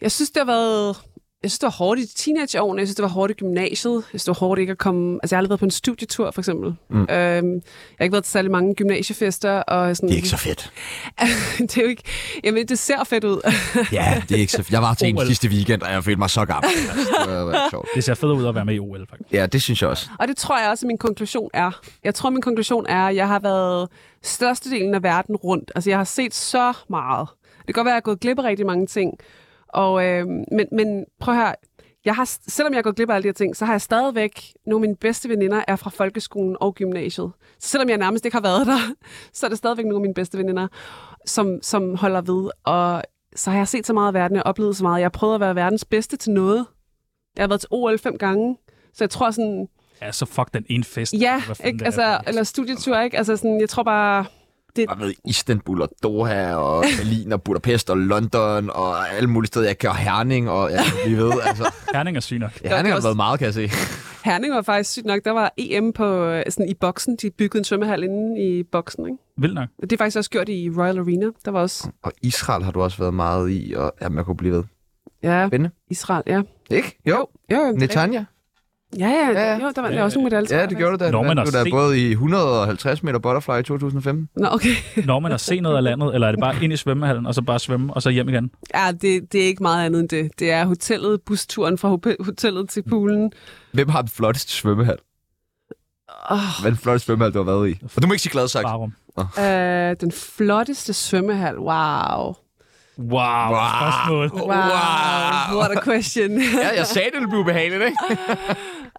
Speaker 4: jeg synes, det har været... Jeg synes, det var hårdt i teenageårene. Jeg synes, det var hårdt i gymnasiet. Jeg synes, det var hårdt ikke at komme... Altså, jeg har aldrig været på en studietur, for eksempel.
Speaker 1: Mm.
Speaker 4: Mm. Øhm, jeg har ikke været til særlig mange gymnasiefester. Og sådan,
Speaker 1: Det er ikke så fedt.
Speaker 4: det er jo ikke... Jamen, det ser fedt ud.
Speaker 1: Ja, det er ikke så fedt. Jeg var til en
Speaker 2: OL.
Speaker 1: sidste weekend, og jeg følte mig så gammel. Altså, det var- det var sjovt.
Speaker 2: Det ser fedt ud at være med i OL, faktisk.
Speaker 1: Ja, det synes jeg også.
Speaker 4: og det tror jeg også, at min konklusion er. Jeg tror, min konklusion er, at jeg har været størstedelen af verden rundt. Altså, jeg har set så meget. Det kan godt være, at jeg er gået glip af rigtig mange ting. Og, øh, men, men prøv her. Jeg har, selvom jeg er gået glip af alle de her ting, så har jeg stadigvæk nogle af mine bedste veninder er fra folkeskolen og gymnasiet. Så selvom jeg nærmest ikke har været der, så er det stadigvæk nogle af mine bedste veninder, som, som holder ved. Og så har jeg set så meget af verden, jeg har oplevet så meget. Jeg har prøvet at være verdens bedste til noget. Jeg har været til OL fem gange. Så jeg tror sådan,
Speaker 2: Ja, så fuck den ene fest.
Speaker 4: Ja,
Speaker 2: Hvad fanden
Speaker 4: ikke?
Speaker 2: det
Speaker 4: Altså, eller studietur, ikke? Altså, sådan, jeg tror bare...
Speaker 1: Jeg ved, Istanbul og Doha og Berlin og Budapest og London og alle mulige steder. Jeg gør Herning, og jeg vi ved, altså...
Speaker 2: Herning er syg nok.
Speaker 1: Ja, Herning har
Speaker 4: også-
Speaker 1: været meget, kan jeg se.
Speaker 4: Herning var faktisk sygt nok. Der var EM på, øh, sådan, i boksen. De byggede en svømmehal inde i boksen, ikke?
Speaker 2: Vildt nok.
Speaker 4: Og Det er faktisk også gjort i Royal Arena. Der var også...
Speaker 1: Og Israel har du også været meget i, og jamen, jeg kunne blive ved.
Speaker 4: Ja,
Speaker 1: Spændende.
Speaker 4: Israel, ja.
Speaker 1: Ikke? Jo.
Speaker 4: Jo, jo.
Speaker 1: Netanya?
Speaker 4: Ja, ja,
Speaker 1: Ja, ja.
Speaker 4: ja. Jo, der var der var også nogle medaljer.
Speaker 1: Ja, det gjorde du da. Du
Speaker 2: Nå, men at
Speaker 1: vandt jo da
Speaker 2: se-
Speaker 1: både i 150 meter butterfly i 2015.
Speaker 4: Nå, okay.
Speaker 2: Når man har set noget af landet, eller er det bare ind i svømmehallen, og så bare svømme, og så hjem igen?
Speaker 4: Ja, det, det er ikke meget andet end det. Det er hotellet, busturen fra hope- hotellet til poolen.
Speaker 1: Hvem har den flotteste svømmehal?
Speaker 4: Oh,
Speaker 1: Hvad er den flotteste svømmehal, du har været i? Og du må ikke sige glad sagt.
Speaker 2: Barum.
Speaker 4: øh, den flotteste svømmehal. Wow.
Speaker 2: Wow, wow. spørgsmål.
Speaker 4: Wow. What a question.
Speaker 1: Ja, jeg sagde, det ville blive behageligt, ikke?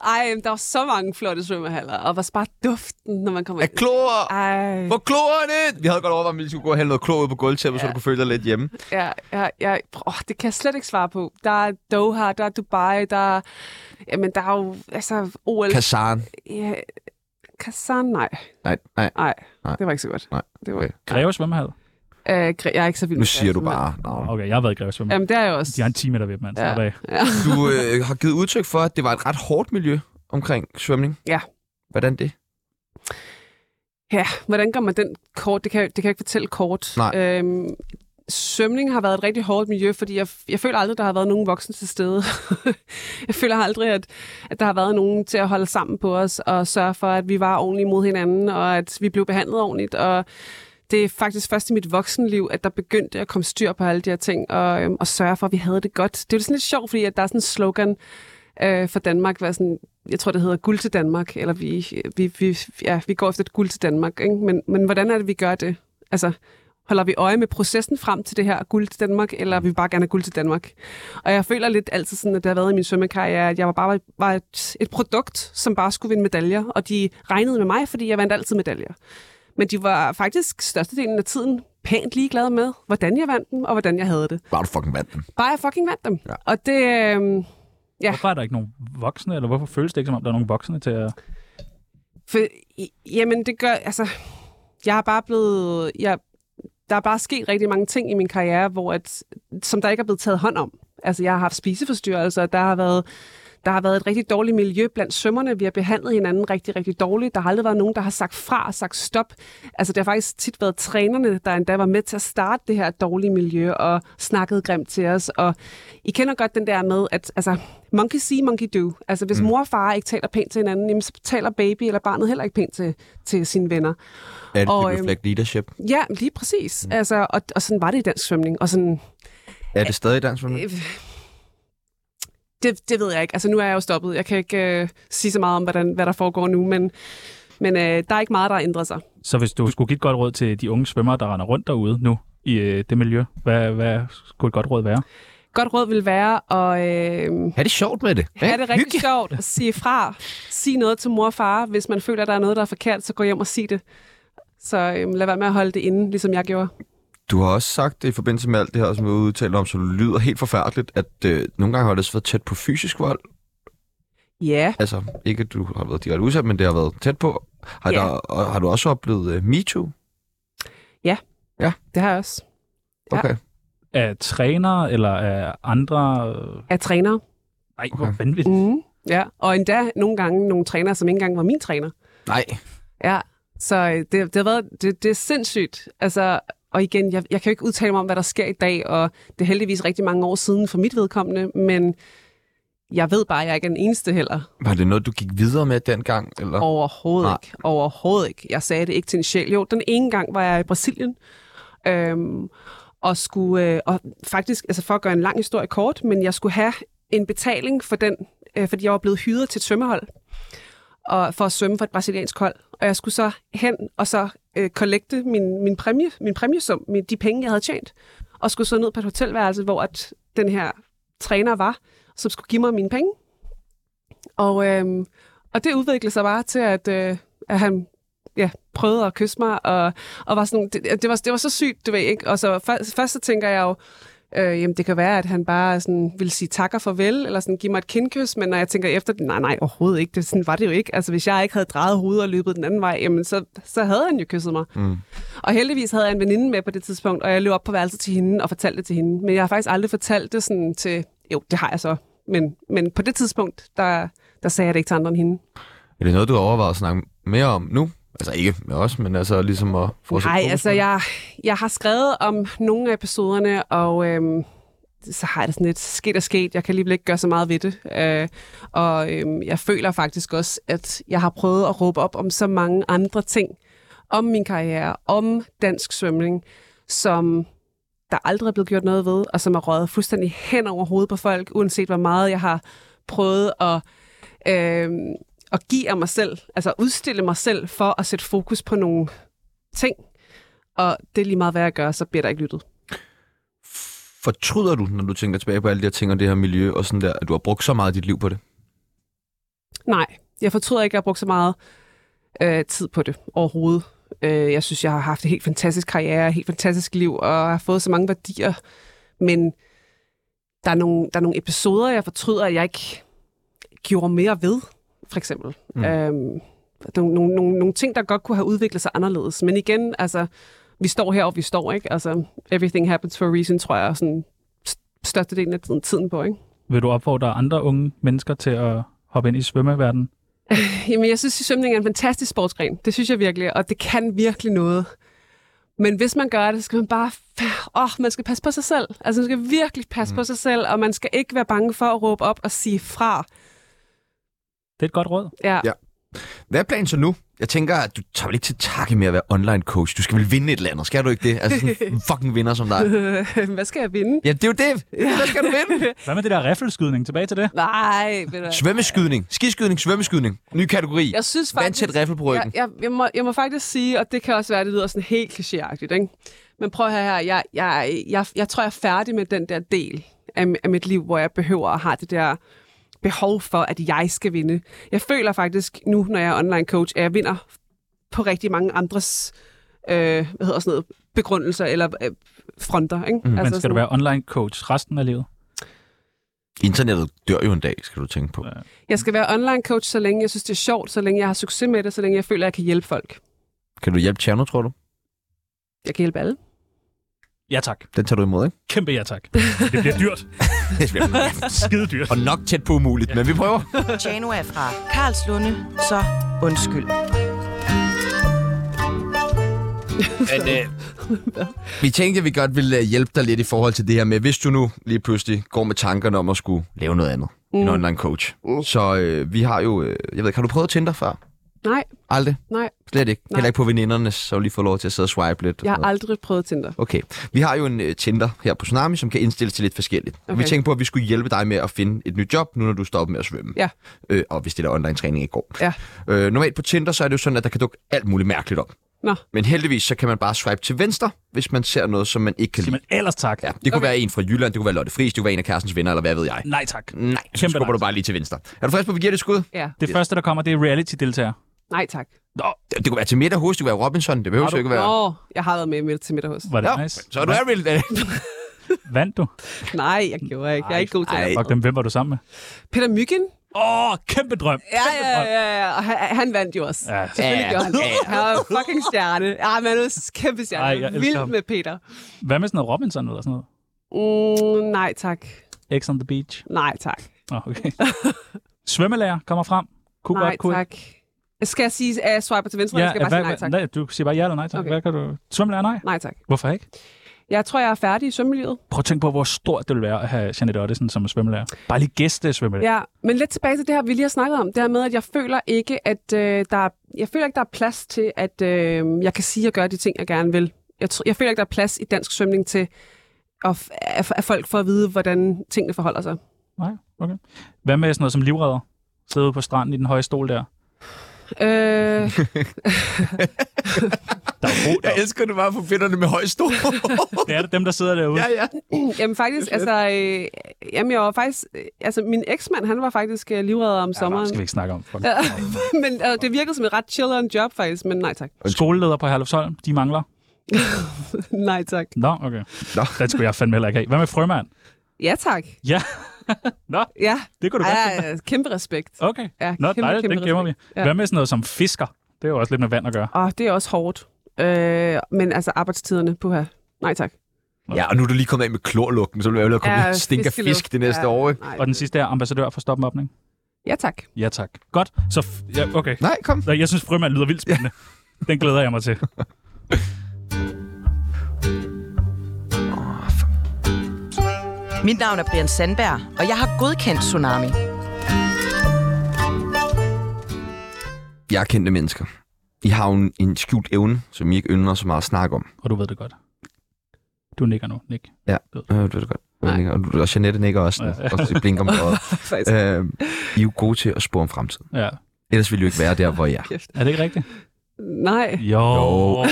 Speaker 4: Ej, men der var så mange flotte svømmehaller, og var bare duften, når man kommer
Speaker 1: Af
Speaker 4: ind.
Speaker 1: klor!
Speaker 4: Ej,
Speaker 1: Hvor kloren ind! Vi havde godt overvejet, om vi skulle gå og hælde noget klor ud på gulvtæppet, så du kunne føle dig lidt hjemme.
Speaker 4: ja, ja, ja, oh, det kan jeg slet ikke svare på. Der er Doha, der er Dubai, der er, jamen, der er jo, altså, OL. Kas-
Speaker 1: Kazan.
Speaker 4: ja, Kazan, nej.
Speaker 1: Nej, nej.
Speaker 4: Nej,
Speaker 1: Nej.
Speaker 4: det var ikke så godt.
Speaker 1: Nej,
Speaker 4: Det var,
Speaker 1: okay.
Speaker 4: okay.
Speaker 2: Greve svømmehal?
Speaker 4: øh, gre- jeg er ikke så vild
Speaker 1: Nu
Speaker 4: med
Speaker 1: siger du
Speaker 4: Kazan,
Speaker 1: bare navn.
Speaker 2: Okay, jeg har været i Greve
Speaker 4: men-
Speaker 2: svømmehal.
Speaker 4: Jamen, det er jeg også.
Speaker 2: De har en 10 meter ved, altså. mand.
Speaker 4: Ja.
Speaker 2: Ja.
Speaker 4: Ja.
Speaker 1: Du øh, har givet udtryk for, at det var et ret hårdt miljø omkring svømning.
Speaker 4: Ja.
Speaker 1: Hvordan det?
Speaker 4: Ja, hvordan gør man den kort? Det kan, jeg- det kan jeg ikke fortælle kort.
Speaker 1: Nej.
Speaker 4: Øhm, svømning har været et rigtig hårdt miljø, fordi jeg, jeg føler aldrig, der har været nogen voksne til stede. jeg føler aldrig, at, at der har været nogen til at holde sammen på os og sørge for, at vi var ordentligt mod hinanden, og at vi blev behandlet ordentligt. Og det er faktisk først i mit voksenliv, at der begyndte at komme styr på alle de her ting, og, øhm, og sørge for, at vi havde det godt. Det er jo sådan lidt sjovt, fordi at der er sådan en slogan øh, for Danmark, var sådan, jeg tror, det hedder guld til Danmark, eller vi, vi, vi, ja, vi går efter et guld til Danmark. Ikke? Men, men hvordan er det, vi gør det? Altså, holder vi øje med processen frem til det her guld til Danmark, eller vil vi bare gerne have guld til Danmark? Og jeg føler lidt altid sådan, at det har været i min svømmekarriere, at jeg var bare var et, et produkt, som bare skulle vinde medaljer, og de regnede med mig, fordi jeg vandt altid medaljer. Men de var faktisk størstedelen af tiden pænt ligeglad med, hvordan jeg vandt dem, og hvordan jeg havde det.
Speaker 1: Bare du fucking vandt den.
Speaker 4: Bare jeg fucking vandt dem.
Speaker 1: Ja.
Speaker 4: Og det... Øh, Ja.
Speaker 2: Hvorfor er der ikke nogen voksne, eller hvorfor føles det ikke, som om der er nogen voksne til at...
Speaker 4: For, i- jamen, det gør, altså, jeg er bare blevet, jeg, der er bare sket rigtig mange ting i min karriere, hvor at, som der ikke er blevet taget hånd om. Altså, jeg har haft spiseforstyrrelser, der har været, der har været et rigtig dårligt miljø blandt sømmerne. Vi har behandlet hinanden rigtig, rigtig dårligt. Der har aldrig været nogen, der har sagt fra og sagt stop. Altså, det har faktisk tit været trænerne, der endda var med til at starte det her dårlige miljø og snakkede grimt til os. Og I kender godt den der med, at altså, monkey see, monkey do. Altså, hvis mm. mor og far ikke taler pænt til hinanden, jamen, så taler baby eller barnet heller ikke pænt til, til sine venner.
Speaker 1: Er det
Speaker 4: Og,
Speaker 1: og,
Speaker 4: øhm,
Speaker 1: reflect leadership?
Speaker 4: Ja, lige præcis. Mm. Altså, og, og sådan var det i dansk svømning. Og sådan,
Speaker 1: Er det stadig dansk for mig?
Speaker 4: Øh, Det, det ved jeg ikke. Altså, nu er jeg jo stoppet. Jeg kan ikke øh, sige så meget om, hvordan, hvad der foregår nu, men, men øh, der er ikke meget, der har ændret sig.
Speaker 2: Så hvis du skulle give et godt råd til de unge svømmere, der render rundt derude nu i øh, det miljø, hvad, hvad skulle et godt råd være?
Speaker 4: Godt råd vil være at øh,
Speaker 1: Er det sjovt med det?
Speaker 4: have det rigtig Hygge. sjovt at sige fra. Sige noget til mor og far. Hvis man føler, at der er noget, der er forkert, så gå hjem og sig det. Så øh, lad være med at holde det inde, ligesom jeg gjorde.
Speaker 1: Du har også sagt i forbindelse med alt det her, som vi udtaler om, som lyder helt forfærdeligt, at øh, nogle gange har det også været tæt på fysisk vold.
Speaker 4: Ja,
Speaker 1: Altså, ikke at du har været direkte udsat, men det har været tæt på. Har,
Speaker 4: Ja.
Speaker 1: der, og, har du også oplevet øh, MeToo?
Speaker 4: det har jeg også. Ja.
Speaker 1: Okay.
Speaker 2: Af trænere eller af andre... øh,
Speaker 4: Jeg træner.
Speaker 2: Nej, hvor
Speaker 1: Okay.
Speaker 2: vanvittigt.
Speaker 4: Mm, ja, og endda nogle gange nogle trænere, som ikke engang var min træner.
Speaker 1: Nej.
Speaker 4: Ja, så øh, det, det, har været, det, det er sindssygt. Altså, og igen, jeg, jeg kan jo ikke udtale mig om, hvad der sker i dag, og det er heldigvis rigtig mange år siden for mit vedkommende, men jeg ved bare, at jeg ikke er den eneste heller.
Speaker 1: Var det noget, du gik videre med dengang? Eller?
Speaker 4: Overhovedet
Speaker 1: Nej.
Speaker 4: ikke. Overhovedet ikke. Jeg sagde det ikke til en sjæl. Jo, den ene gang var jeg i Brasilien, øhm, og skulle, øh, og faktisk, altså for at gøre en lang historie kort, men jeg skulle have en betaling for den, øh, fordi jeg var blevet hyret til et svømmehold, og, for at svømme for et brasiliansk hold. Og jeg skulle så hen og så øh, kollekte min, min, præmie, min præmiesum, min, de penge, jeg havde tjent, og skulle så ned på et hotelværelse, hvor at den her træner var, som skulle give mig mine penge. Og, øh, og det udviklede sig bare til, at, øh, at han ja, prøvede at kysse mig, og, og var sådan, nogle- det, det, var, det var så sygt, du ved ikke. Og så først, først så tænker jeg jo, øh, jamen det kan være, at han bare sådan, ville sige tak og farvel, eller sådan give mig et kindkys, men når jeg tænker efter, nej, nej, overhovedet ikke, det, sådan var det jo ikke. Altså hvis jeg ikke havde drejet hovedet og løbet den anden vej, jamen så, så havde han jo kysset mig.
Speaker 1: Mm.
Speaker 4: Og heldigvis havde jeg en veninde med på det tidspunkt, og jeg løb op på værelset til hende og fortalte det til hende. Men jeg har faktisk aldrig fortalt det sådan til, jo, det har jeg så, men, men på det tidspunkt, der, der sagde jeg det ikke til andre end hende.
Speaker 1: Er det noget, du overvejer at snakke mere om nu? Altså ikke med os, men altså ligesom at få
Speaker 4: Nej, altså jeg, jeg har skrevet om nogle af episoderne, og øhm, så har jeg det sådan lidt sket og sket. Jeg kan alligevel ikke gøre så meget ved det. Øh, og øhm, jeg føler faktisk også, at jeg har prøvet at råbe op om så mange andre ting. Om min karriere, om dansk svømning, som der aldrig er blevet gjort noget ved, og som er røget fuldstændig hen over hovedet på folk, uanset hvor meget jeg har prøvet at... Øh, at give af mig selv, altså udstille mig selv for at sætte fokus på nogle ting, og det er lige meget, hvad jeg gør, så bliver der ikke lyttet.
Speaker 1: Fortryder du, når du tænker tilbage på alle de her ting og det her miljø og sådan der, at du har brugt så meget af dit liv på det?
Speaker 4: Nej, jeg fortryder ikke, at jeg har brugt så meget øh, tid på det overhovedet. Øh, jeg synes, jeg har haft en helt fantastisk karriere, et helt fantastisk liv, og har fået så mange værdier. Men der er nogle, der er nogle episoder, jeg fortryder, at jeg ikke gjorde mere ved, for eksempel. Mm. Øhm, der er nogle, nogle, nogle ting, der godt kunne have udviklet sig anderledes. Men igen, altså, vi står her, og vi står, ikke? Altså, everything happens for a reason, tror jeg, sådan st- størstedelen af tiden, tiden på, ikke?
Speaker 2: Vil du opfordre andre unge mennesker til at hoppe ind i svømmeverdenen?
Speaker 4: Jamen, jeg synes, at svømning er en fantastisk sportsgren. Det synes jeg virkelig, og det kan virkelig noget. Men hvis man gør det, så skal man bare... Åh, oh, man skal passe på sig selv. Altså, man skal virkelig passe mm. på sig selv, og man skal ikke være bange for at råbe op og sige fra.
Speaker 2: Det er et godt råd.
Speaker 4: Ja.
Speaker 1: Ja. Hvad er planen så nu? Jeg tænker, at du tager vel ikke til takke med at være online coach. Du skal vel vinde et eller andet, skal du ikke det? Altså sådan en fucking vinder som dig.
Speaker 4: Øh, Hvad skal jeg vinde?
Speaker 1: Ja, det er jo det. Hvad skal du vinde?
Speaker 2: Hvad med det der riffelskydning? Tilbage til det.
Speaker 4: Nej, ved du hvad.
Speaker 1: Svømmeskydning. Skiskydning, svømmeskydning. Ny kategori.
Speaker 4: Jeg synes
Speaker 1: Vand til
Speaker 4: faktisk...
Speaker 1: et riffel på ryggen.
Speaker 4: Jeg, jeg, jeg, må, jeg må faktisk sige, og det kan også være, at det lyder sådan helt klichéagtigt, ikke? Men prøv at høre her, jeg, jeg, jeg, jeg tror, jeg er færdig med den der del af, af mit liv, hvor jeg behøver at have det der behov for, at jeg skal vinde. Jeg føler faktisk nu, når jeg er online coach, at jeg vinder på rigtig mange andres øh, hvad hedder sådan noget, begrundelser eller øh, fronter. Ikke? Mm.
Speaker 2: Men skal du være online coach resten af livet?
Speaker 1: Internettet dør jo en dag, skal du tænke på.
Speaker 4: Jeg skal være online coach, så længe jeg synes, det er sjovt, så længe jeg har succes med det, så længe jeg føler, at jeg kan hjælpe folk.
Speaker 1: Kan du hjælpe Tjerno, tror du?
Speaker 4: Jeg kan hjælpe alle.
Speaker 2: Ja tak.
Speaker 1: Den tager du imod, ikke?
Speaker 2: Kæmpe ja tak. Det bliver dyrt. Skide dyrt.
Speaker 1: Og nok tæt på umuligt, men vi prøver.
Speaker 5: Tjano er fra Karlslunde, så undskyld.
Speaker 1: Men, øh, vi tænkte, at vi godt ville øh, hjælpe dig lidt i forhold til det her med, hvis du nu lige pludselig går med tankerne om at skulle lave noget andet. Mm. En online coach. Mm. Så øh, vi har jo, øh, jeg ved ikke, har du prøvet Tinder før?
Speaker 4: Nej,
Speaker 1: Aldrig?
Speaker 4: nej.
Speaker 1: Slet ikke?
Speaker 4: Nej.
Speaker 1: Heller ikke på venindernes, så har du lige fået lov til at sidde og swipe lidt? og sådan
Speaker 4: Jeg har
Speaker 1: noget.
Speaker 4: aldrig prøvet Tinder.
Speaker 1: Okay. Vi har jo en øh, Tinder her på Tsunami, som kan indstilles til lidt forskelligt. Okay. Vi
Speaker 4: Okay.
Speaker 1: tænkte på, at vi skulle hjælpe dig med at finde et nyt job, nu når du stopper med at svømme.
Speaker 4: Ja.
Speaker 1: Øh, og hvis det der online træning i går.
Speaker 4: Ja.
Speaker 1: Øh, normalt på Tinder, så er det jo sådan, at der kan dukke alt muligt mærkeligt op.
Speaker 4: Nå.
Speaker 1: Men heldigvis, så kan man bare swipe til venstre, hvis man ser noget, som man ikke kan
Speaker 2: Sig
Speaker 1: lide.
Speaker 2: man ellers tak.
Speaker 1: Ja, det kunne okay. være en fra Jylland, det kunne være Lotte Friis, det kunne være en af kærestens venner, eller hvad ved jeg.
Speaker 2: Nej tak.
Speaker 1: Nej, så
Speaker 2: Kæmpe
Speaker 1: skubber
Speaker 2: nej.
Speaker 1: du bare lige til venstre. Er du frisk på, at vi giver det et skud?
Speaker 4: Ja,
Speaker 2: Det første, der kommer, det er reality-deltager.
Speaker 4: nej tak.
Speaker 2: Nå,
Speaker 1: Det, det kunne være til middag hos, det kunne være Robinson, det behøver
Speaker 2: Har
Speaker 1: jo
Speaker 2: du-
Speaker 1: ikke være...
Speaker 4: Nå, jeg har været med i Mette til middag hos.
Speaker 2: var det
Speaker 1: Nå,
Speaker 2: nice.
Speaker 1: så er du er real.
Speaker 2: Vandt du?
Speaker 4: Nej, jeg gjorde ikke. Jeg er ikke god til
Speaker 1: Ej.
Speaker 4: det.
Speaker 2: Fuck dem, hvem var du sammen med?
Speaker 4: Peter Myggen?
Speaker 2: Åh, oh, kæmpe drøm.
Speaker 4: Ja, ja, ja. ja. Og han, han vandt jo også.
Speaker 2: Ja,
Speaker 4: Selvfølgelig gjorde han det. Han var en fucking stjerne. Ja, men han er en kæmpe stjerne.
Speaker 2: Ej,
Speaker 4: Ej,
Speaker 2: jeg elsker
Speaker 4: Vild
Speaker 2: ham.
Speaker 4: med Peter.
Speaker 2: Hvad med sådan noget Robinson eller sådan noget?
Speaker 4: Mm, nej tak.
Speaker 2: X on the beach.
Speaker 4: Nej tak.
Speaker 2: Nå, okay. Svømmelærer kommer frem. Kunne
Speaker 4: Nej
Speaker 2: godt, kunne
Speaker 4: tak. Skal jeg sige, at jeg swiper til venstre,
Speaker 2: Ja,
Speaker 4: eller skal jeg bare
Speaker 2: hvad-
Speaker 4: sige nej tak?
Speaker 2: Nej, du siger bare ja eller nej tak. Okay.
Speaker 4: Okay.
Speaker 2: Hvad kan du... Svømmelærer nej?
Speaker 4: Nej tak.
Speaker 2: Hvorfor ikke?
Speaker 4: Jeg tror, jeg er færdig i svømmelivet.
Speaker 2: Prøv at tænke på, hvor stort det ville være at have Janet Ottesen som svømmelærer. Bare lige gæste svømmelærer.
Speaker 4: Ja, men lidt tilbage til det her, vi lige har snakket om. Det her med, at jeg føler ikke, at øh, der er, jeg føler ikke, der er plads til, at øh, jeg kan sige og gøre de ting, jeg gerne vil. Jeg, tr- jeg føler ikke, der er plads i dansk svømning til, at, f- at, at folk får at vide, hvordan tingene forholder sig.
Speaker 2: Nej, okay. Hvad med sådan noget som livredder? Sidde ude på stranden i den høje stol der.
Speaker 4: Øh,
Speaker 2: Der er jo god
Speaker 1: Jeg
Speaker 2: der.
Speaker 1: elsker, at du bare får finderne med høj stol.
Speaker 2: Det er det dem, der sidder derude.
Speaker 1: ja, ja.
Speaker 4: jamen faktisk, altså, øh, jamen jeg var faktisk, øh, altså min eksmand, han var faktisk øh, livredder om
Speaker 2: Ja, nej,
Speaker 4: sommeren.
Speaker 2: skal vi ikke snakke om. Fuck.
Speaker 4: Ja. men øh, det virkede som et ret chilleren job faktisk, men nej tak.
Speaker 2: Skoleleder på Herlufsholm, de mangler.
Speaker 4: nej tak.
Speaker 2: Nå, okay.
Speaker 1: Nå.
Speaker 2: Den skulle jeg fandme heller ikke have. Hvad med frømand?
Speaker 4: Ja tak.
Speaker 2: Ja. Nå,
Speaker 4: Ja,
Speaker 2: det kunne du godt.
Speaker 4: Ej, kæmpe respekt.
Speaker 2: Okay.
Speaker 4: Ja,
Speaker 2: Nå,
Speaker 4: kæmpe,
Speaker 2: nej,
Speaker 4: kæmpe
Speaker 2: den gemmer vi.
Speaker 4: respekt. Ja.
Speaker 2: Hvad med sådan noget som fisker? Det er jo også lidt med vand at gøre.
Speaker 4: Og Ah, det er også hårdt. Øh, men altså arbejdstiderne, puha. Nej tak.
Speaker 1: ja, og nu er du lige kommet af med klorlugten, så vil jeg jo komme ja, stinker
Speaker 4: fiskeluft.
Speaker 1: fisk det næste år, ikke?
Speaker 4: Nej.
Speaker 2: Og den sidste er ambassadør for Stop Mobning.
Speaker 4: Ja tak.
Speaker 2: Ja, tak. Godt. Så, f- ja, okay.
Speaker 1: Nej, kom.
Speaker 2: Nå, jeg synes, frømand lyder vildt spændende. Den glæder jeg mig til.
Speaker 5: Mit navn er Brian Sandberg, og jeg har godkendt Tsunami.
Speaker 1: Jeg er kendte mennesker. I har jo en, en skjult evne, som I ikke ynder så meget at snakke om.
Speaker 2: Og du ved det godt. Du nikker nu, Nick.
Speaker 1: Øh, det ved du godt. Jeg nikker. Og du- og Jeanette nikker også,
Speaker 2: Ja.
Speaker 1: og det blinker med øjet.
Speaker 4: Faktisk.
Speaker 1: øh, I er jo gode til at spore om fremtiden.
Speaker 2: Ja.
Speaker 1: Ellers ville I jo ikke være der, hvor I er.
Speaker 2: Er det ikke rigtigt?
Speaker 4: Nej.
Speaker 2: Jo.
Speaker 1: Jo,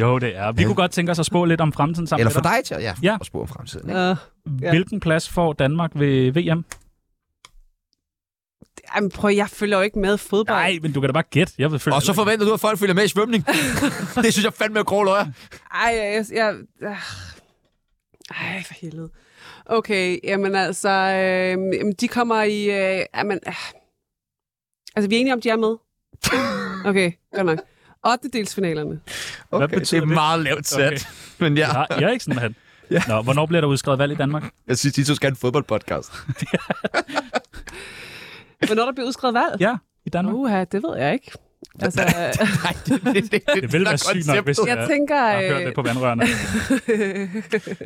Speaker 2: jo det er. Vi kunne godt tænke os at spå lidt om fremtiden sammen
Speaker 1: Eller
Speaker 2: med
Speaker 1: for dig til at, ja,
Speaker 2: Ja.
Speaker 1: ja. at spore om fremtiden. Ikke?
Speaker 4: Uh,
Speaker 2: dig.
Speaker 4: ja.
Speaker 2: Hvilken plads får Danmark ved VM?
Speaker 4: jamen, prøv, jeg følger jo ikke med fodbold.
Speaker 2: Nej, men du kan da bare gætte. Jeg vil følge
Speaker 1: Og så forventer du, at folk følger med i svømning. det synes jeg fandme er grå løjer.
Speaker 4: Ej, jeg... jeg øh. Ej, for helvede. Okay, jamen altså, øh, jamen, de kommer i... Øh, jamen, øh. Altså, vi er enige om, de er med. Okay, godt nok. 8. delsfinalerne.
Speaker 2: Hvad
Speaker 1: Okay, det
Speaker 2: betyder
Speaker 1: er
Speaker 2: det?
Speaker 1: meget lavt sat.
Speaker 2: Okay.
Speaker 1: Okay. Men ja,
Speaker 2: Ja, jeg er ikke sådan han. Nå, hvornår bliver der udskrevet valg i Danmark?
Speaker 1: jeg synes, de to skal have en fodboldpodcast.
Speaker 4: Hvornår der bliver udskrevet valg?
Speaker 2: Ja, i Danmark.
Speaker 4: Uha, det ved jeg ikke. Altså, øh,
Speaker 1: Nej, det, det, det,
Speaker 2: Det ville være sygt nok, hvis
Speaker 4: jeg
Speaker 2: jeg har
Speaker 4: tænker...
Speaker 2: hørt
Speaker 4: øh,
Speaker 2: det på vandrørene.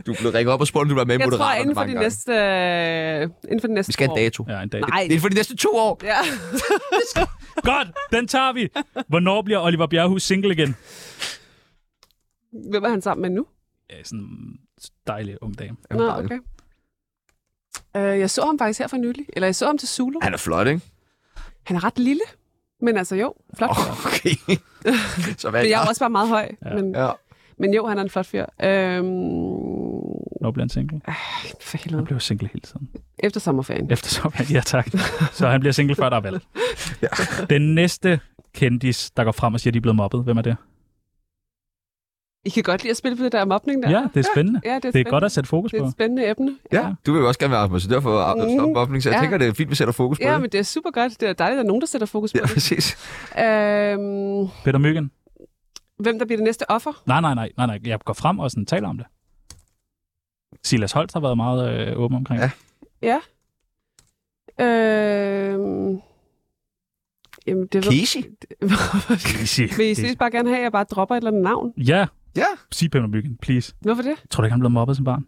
Speaker 1: Du blev ringet op og spurgt, om du var med i
Speaker 4: Jeg tror,
Speaker 1: Moderaterne
Speaker 4: inden for,
Speaker 1: mange
Speaker 4: de
Speaker 1: gange.
Speaker 4: næste, øh, inden for de næste
Speaker 1: Vi skal have en dato.
Speaker 2: Ja, en dag.
Speaker 4: Nej.
Speaker 1: Det er for de næste to år.
Speaker 4: Ja.
Speaker 2: Godt, den tager vi. Hvornår bliver Oliver Bjerghus single igen?
Speaker 4: Hvem er han sammen med nu?
Speaker 2: Ja, sådan en dejlig ung dame.
Speaker 1: Jamen,
Speaker 4: Nå,
Speaker 1: dejligt.
Speaker 4: okay. Øh, jeg så ham faktisk her for nylig. Eller jeg så ham til Zulu.
Speaker 1: Han er flot, ikke?
Speaker 4: Han er ret lille. Men altså jo, flot. Oh,
Speaker 1: Okay. Så hvad
Speaker 4: men jeg er
Speaker 1: jeg
Speaker 4: jo også bare meget høj.
Speaker 2: Ja.
Speaker 4: Ja. Men,
Speaker 1: Ja.
Speaker 4: men jo, han er en flot fyr. Øhm,
Speaker 2: Hvornår bliver han single?
Speaker 4: for
Speaker 2: Han
Speaker 4: helvede.
Speaker 2: bliver single hele tiden.
Speaker 4: Efter sommerferien.
Speaker 2: Efter sommerferien, ja tak. Så han bliver single før der er valg. Den næste kendis, der går frem og siger, at de er blevet mobbet, hvem er det?
Speaker 4: I kan godt lide at spille på det der mobning der.
Speaker 2: Ja, det er spændende.
Speaker 4: Ja, det er
Speaker 2: Det
Speaker 4: spændende.
Speaker 2: er godt at sætte fokus
Speaker 4: Det er
Speaker 2: på.
Speaker 4: et spændende emne.
Speaker 1: Ja, du vil jo også gerne være ambassadør for
Speaker 4: Mhm.
Speaker 1: opvåbning, så jeg
Speaker 4: Ja.
Speaker 1: tænker, det er fint, vi sætter fokus på
Speaker 4: Ja,
Speaker 1: det.
Speaker 4: men det er super godt. Det er dejligt, at der er nogen, der sætter fokus på
Speaker 1: Ja,
Speaker 4: det.
Speaker 1: præcis.
Speaker 4: Øhm,
Speaker 2: Peter Myggen.
Speaker 4: hvem der bliver det næste offer?
Speaker 2: Nej, nej, nej, nej, nej. Jeg går frem og sådan taler om det. Silas Holt har været meget øh, åben omkring.
Speaker 1: Ja.
Speaker 2: Ja.
Speaker 4: Øhm, jamen, det ved
Speaker 1: Casey?
Speaker 4: Vil I seriøst bare gerne have, at jeg bare dropper et eller andet navn?
Speaker 2: Ja,
Speaker 1: Ja.
Speaker 2: sig Peter Myggen, please.
Speaker 4: Hvorfor det?
Speaker 2: Tror du ikke, han blev mobbet som barn?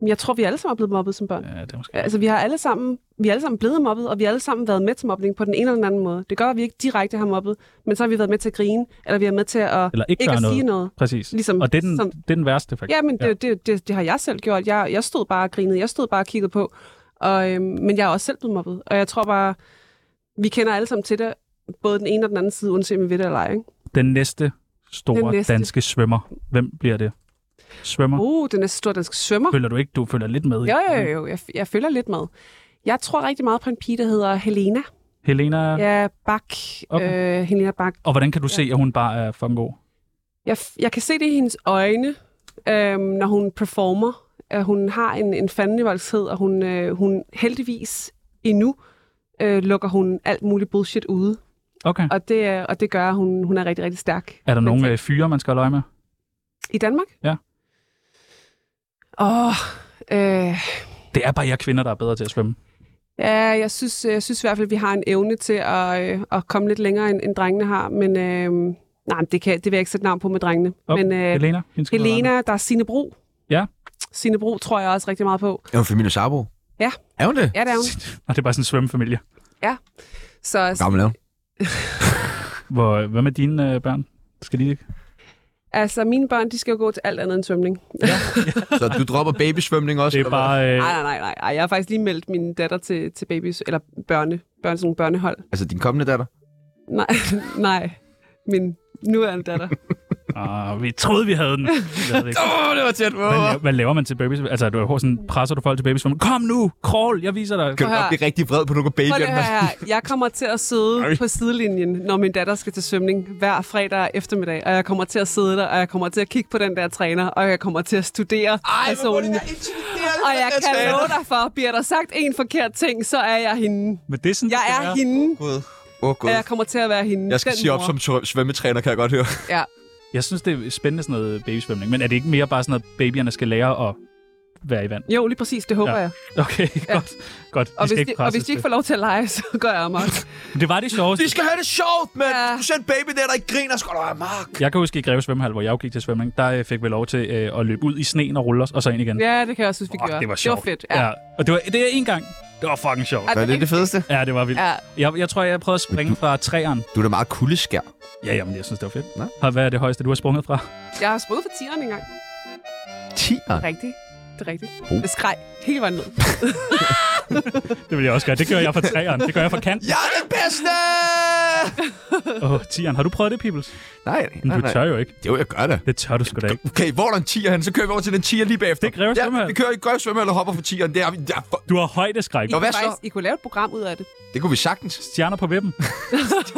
Speaker 4: Men jeg tror, vi alle sammen er blevet mobbet som børn.
Speaker 2: Ja, det er måske.
Speaker 4: Altså, vi har alle sammen, vi er alle sammen blevet mobbet, og vi har alle sammen været med til mobning på den ene eller den anden måde. Det gør, at vi ikke direkte har mobbet, men så har vi været med til at grine, eller vi har med til at
Speaker 2: Eller ikke,
Speaker 4: ikke
Speaker 2: gøre
Speaker 4: at
Speaker 2: noget.
Speaker 4: sige noget.
Speaker 2: Præcis.
Speaker 4: Ligesom,
Speaker 2: Og det er den,
Speaker 4: som-
Speaker 2: det er den værste, faktisk.
Speaker 4: Ja, men det, det, det, det har jeg selv gjort. Jeg, jeg stod bare og grinede, jeg stod bare og kiggede på. Og, øhm, men jeg er også selv blevet mobbet, og jeg tror bare, vi kender alle sammen til det, både den ene og den anden side, uanset om vi ved det eller ej. Ikke?
Speaker 2: Den næste store
Speaker 4: Den
Speaker 2: den
Speaker 4: næste.
Speaker 2: næste. danske svømmer. Hvem bliver det? Svømmer? Uh.
Speaker 4: Uh, den er stor dansk svømmer.
Speaker 2: Føler du ikke, du føler lidt med? i-
Speaker 4: Jo, jo, jo, jeg, jeg følger lidt med. Jeg tror rigtig meget på en pige, der hedder Helena.
Speaker 2: Helena? Ja.
Speaker 4: Ja, Bak.
Speaker 2: Okay.
Speaker 4: Øh, Helena Bak.
Speaker 2: Og hvordan kan du se, at hun bare er fucking god?
Speaker 4: Jeg, jeg kan se det i hendes øjne, øhm, når hun performer. At hun har en, en fandenivoldskhed, og hun, øh, hun heldigvis endnu øh, lukker hun alt muligt bullshit ude.
Speaker 2: Okay.
Speaker 4: Og det, øh, og det gør, at hun, hun er rigtig, rigtig stærk.
Speaker 2: Er der
Speaker 4: Men
Speaker 2: nogle
Speaker 4: tak.
Speaker 2: øh, fyre, man skal holde øje med?
Speaker 4: I Danmark?
Speaker 2: Ja.
Speaker 4: Åh, øh,
Speaker 2: Det er bare jer kvinder, der er bedre til at svømme.
Speaker 4: Ja, jeg synes, jeg synes i hvert fald, vi har en evne til at, øh, at komme lidt længere, end, end drengene har. Men øh, nej, men det, kan, det vil jeg ikke sætte navn på med drengene.
Speaker 2: Oh,
Speaker 4: men øh,
Speaker 2: Helena? hende skal man holde øje
Speaker 4: Helena, der er Signe Bro.
Speaker 2: Ja.
Speaker 4: Signe Bro tror jeg også rigtig meget på.
Speaker 1: Er hun familie Sabo?
Speaker 4: Ja.
Speaker 1: Er hun det?
Speaker 4: Ja, det er hun.
Speaker 2: med. Og det er bare sådan en svømmefamilie.
Speaker 1: Hvor
Speaker 4: Så
Speaker 1: gammel er hun?
Speaker 2: Hvor, hvad med dine øh, børn? Skal de ikke?
Speaker 4: altså, mine børn, de skal jo gå til alt andet end svømning.
Speaker 1: Så du dropper babysvømning også?
Speaker 2: Det er
Speaker 1: eller hvad?
Speaker 2: bare... Øh,
Speaker 4: Nej, nej, nej, nej. Ej, Jeg har faktisk lige meldt min datter til, til babys, eller børne, børne, sådan nogle børnehold.
Speaker 1: Altså din kommende datter?
Speaker 4: Nej, nej. Min nuværende datter.
Speaker 2: ah, vi troede, vi havde den. Jeg ved det ikke.
Speaker 1: Åh, oh, det var tæt på.
Speaker 2: Hvad, laver, hvad laver man til babies? Altså, du er sådan, presser du folk til babies? Kom nu, crawl, jeg viser
Speaker 1: Kan
Speaker 2: dig.
Speaker 1: du
Speaker 4: Prøv
Speaker 1: nok
Speaker 4: her.
Speaker 1: blive rigtig vred på nogle af
Speaker 4: Prøv lige at
Speaker 1: babyerne?
Speaker 4: høre her. Jeg kommer til at sidde på sidelinjen, når min datter skal til svømning hver fredag eftermiddag. Og jeg kommer til at sidde der, og jeg kommer til at kigge på den der træner, og jeg kommer til at studere personen. Og jeg kan love dig for, bliver der sagt en forkert ting, så er jeg hende.
Speaker 2: Men det er sådan,
Speaker 4: Jeg
Speaker 2: det skal
Speaker 4: er
Speaker 2: være.
Speaker 4: hende,
Speaker 1: Gud. Åh, oh,
Speaker 4: og
Speaker 1: Gud.
Speaker 4: jeg kommer til at være hende.
Speaker 1: Jeg skal
Speaker 4: Den
Speaker 1: sige op
Speaker 4: mor.
Speaker 1: som tø- svømmetræner, kan jeg godt høre.
Speaker 4: Ja.
Speaker 2: Jeg synes, det er spændende sådan noget babysvømning, men er det ikke mere bare sådan noget, babyerne skal lære at være i vand?
Speaker 4: Jo, lige præcis, det håber
Speaker 2: Ja.
Speaker 4: jeg.
Speaker 2: Okay, ja. godt. godt.
Speaker 4: Og
Speaker 2: skal
Speaker 4: hvis, de, og
Speaker 2: presses
Speaker 4: hvis de ikke
Speaker 2: til.
Speaker 4: får lov til at lege, så gør jeg mig.
Speaker 2: Men Det var det sjoveste.
Speaker 1: De skal have det sjovt, mand.
Speaker 4: Ja.
Speaker 1: Du ser en baby der, der ikke griner, skal du have mark.
Speaker 2: Jeg kan huske i Greve Svømmehal, hvor jeg jo gik til svømning, der øh, fik vi lov til øh, at løbe ud i sneen og rulle os, og så ind igen.
Speaker 4: Ja, det kan jeg også synes, vi gjorde.
Speaker 2: det var sjovt.
Speaker 4: Det var fedt. Ja.
Speaker 2: Ja. ja. Og det var det er en gang. Det var fucking sjovt.
Speaker 1: Hvad er det det fedeste?
Speaker 2: Ja, det var vildt.
Speaker 4: Ja.
Speaker 2: Jeg, jeg tror, jeg prøvede at springe fra træerne.
Speaker 1: Du er da meget kuldeskær.
Speaker 2: Ja, jamen, jeg synes, det var fedt.
Speaker 1: Nå.
Speaker 2: Og hvad er det højeste, du har sprunget fra?
Speaker 4: Jeg har sprunget for tieren engang.
Speaker 1: Tiger.
Speaker 4: Rigtigt. Det er rigtigt.
Speaker 1: Oh.
Speaker 4: Det skreg hele vejen ned.
Speaker 2: Det vil jeg også gøre. Det gør jeg fra træerne. Det gør jeg fra kanten.
Speaker 1: Jeg er den bedste!
Speaker 2: Åh, oh, tieren. Har du prøvet det, Peoples?
Speaker 1: Nej,
Speaker 2: Men
Speaker 1: nej,
Speaker 2: du
Speaker 1: nej.
Speaker 2: tør jo ikke.
Speaker 1: Jo, jeg gør det.
Speaker 2: Det tør du sgu da ikke.
Speaker 1: Okay, hvor er der en tiger hen? Så kører vi over til den tiger lige bagefter.
Speaker 2: Det kræver
Speaker 1: ja,
Speaker 2: svømmehal.
Speaker 1: vi kører i greve svømmehal og hopper for tigeren. Det, er, vi- ja, for,
Speaker 2: Du har højdeskræk.
Speaker 1: Nå, hvad
Speaker 4: kunne
Speaker 1: så?
Speaker 4: I kunne lave et program ud af det.
Speaker 1: det kunne vi sagtens.
Speaker 2: Stjerner på vippen.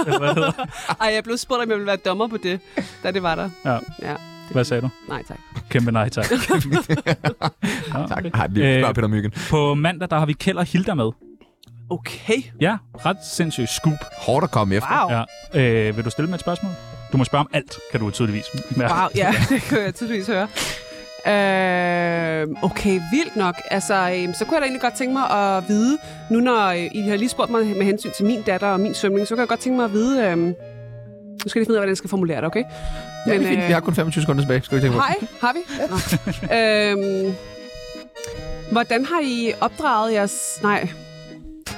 Speaker 2: Eller hvad, hedder det?
Speaker 4: Ej, jeg blev spurgt, om jeg ville være dommer på det, da det var der.
Speaker 2: Ja.
Speaker 4: Ja.
Speaker 2: hvad sagde du?
Speaker 4: Nej, tak.
Speaker 2: Kæmpe nej, tak. ja,
Speaker 1: Tak.
Speaker 2: okay.
Speaker 1: Nej, vi
Speaker 2: Øh,
Speaker 1: spørger Peter Myggen.
Speaker 2: På mandag, der har vi Kjeld og Hilda med.
Speaker 4: Okay.
Speaker 2: Ja, ret sindssygt scoop.
Speaker 1: Hårdt at komme efter.
Speaker 4: Wow.
Speaker 2: Ja. Øh, vil du stille med et spørgsmål? Du må spørge om alt, kan du tydeligvis. Ja.
Speaker 4: Wow, ja, det kunne jeg tydeligvis høre. Øh, okay, vildt nok. Altså, øh, så kunne jeg da egentlig godt tænke mig at vide, nu når øh, I har lige spurgt mig med hensyn til min datter og min svømning, så kan jeg godt tænke mig at vide, øh, nu skal jeg lige finde ud af, hvordan jeg skal formulere det, okay?
Speaker 1: Ja, det er fint.
Speaker 4: øh,
Speaker 1: Vi har kun 25 sekunder tilbage. Skal vi tænke på
Speaker 4: Hej, har vi? Nå. øhm, hvordan har I opdraget jeres... Nej. Øh,
Speaker 2: Det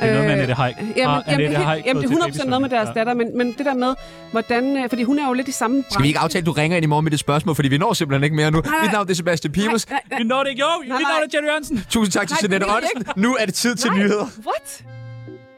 Speaker 2: er noget med Annette Haik.
Speaker 4: Jamen,
Speaker 2: Har
Speaker 4: jamen,
Speaker 2: Annette
Speaker 4: det, er
Speaker 2: Haik
Speaker 4: helt- jamen, det
Speaker 2: gået til
Speaker 4: er 100% noget med
Speaker 2: babysvømning?
Speaker 4: deres
Speaker 2: Ja.
Speaker 4: datter, men, men det der med, hvordan... øh, Fordi hun er jo lidt i samme branche.
Speaker 1: Skal vi ikke aftale, at du ringer ind i morgen med det spørgsmål, fordi vi når simpelthen ikke mere nu.
Speaker 4: Nej,
Speaker 1: Mit navn det er Sebastian Pibels.
Speaker 4: Nej, nej,
Speaker 2: Vi når det ikke. Jo, vi
Speaker 4: Nej,
Speaker 2: når
Speaker 4: nej.
Speaker 2: det, Jerry Jørgensen.
Speaker 1: Tusind tak til
Speaker 4: Nej,
Speaker 1: Jeanette
Speaker 4: det er
Speaker 1: Ottesen. Nu er det tid til nyheder.
Speaker 4: What?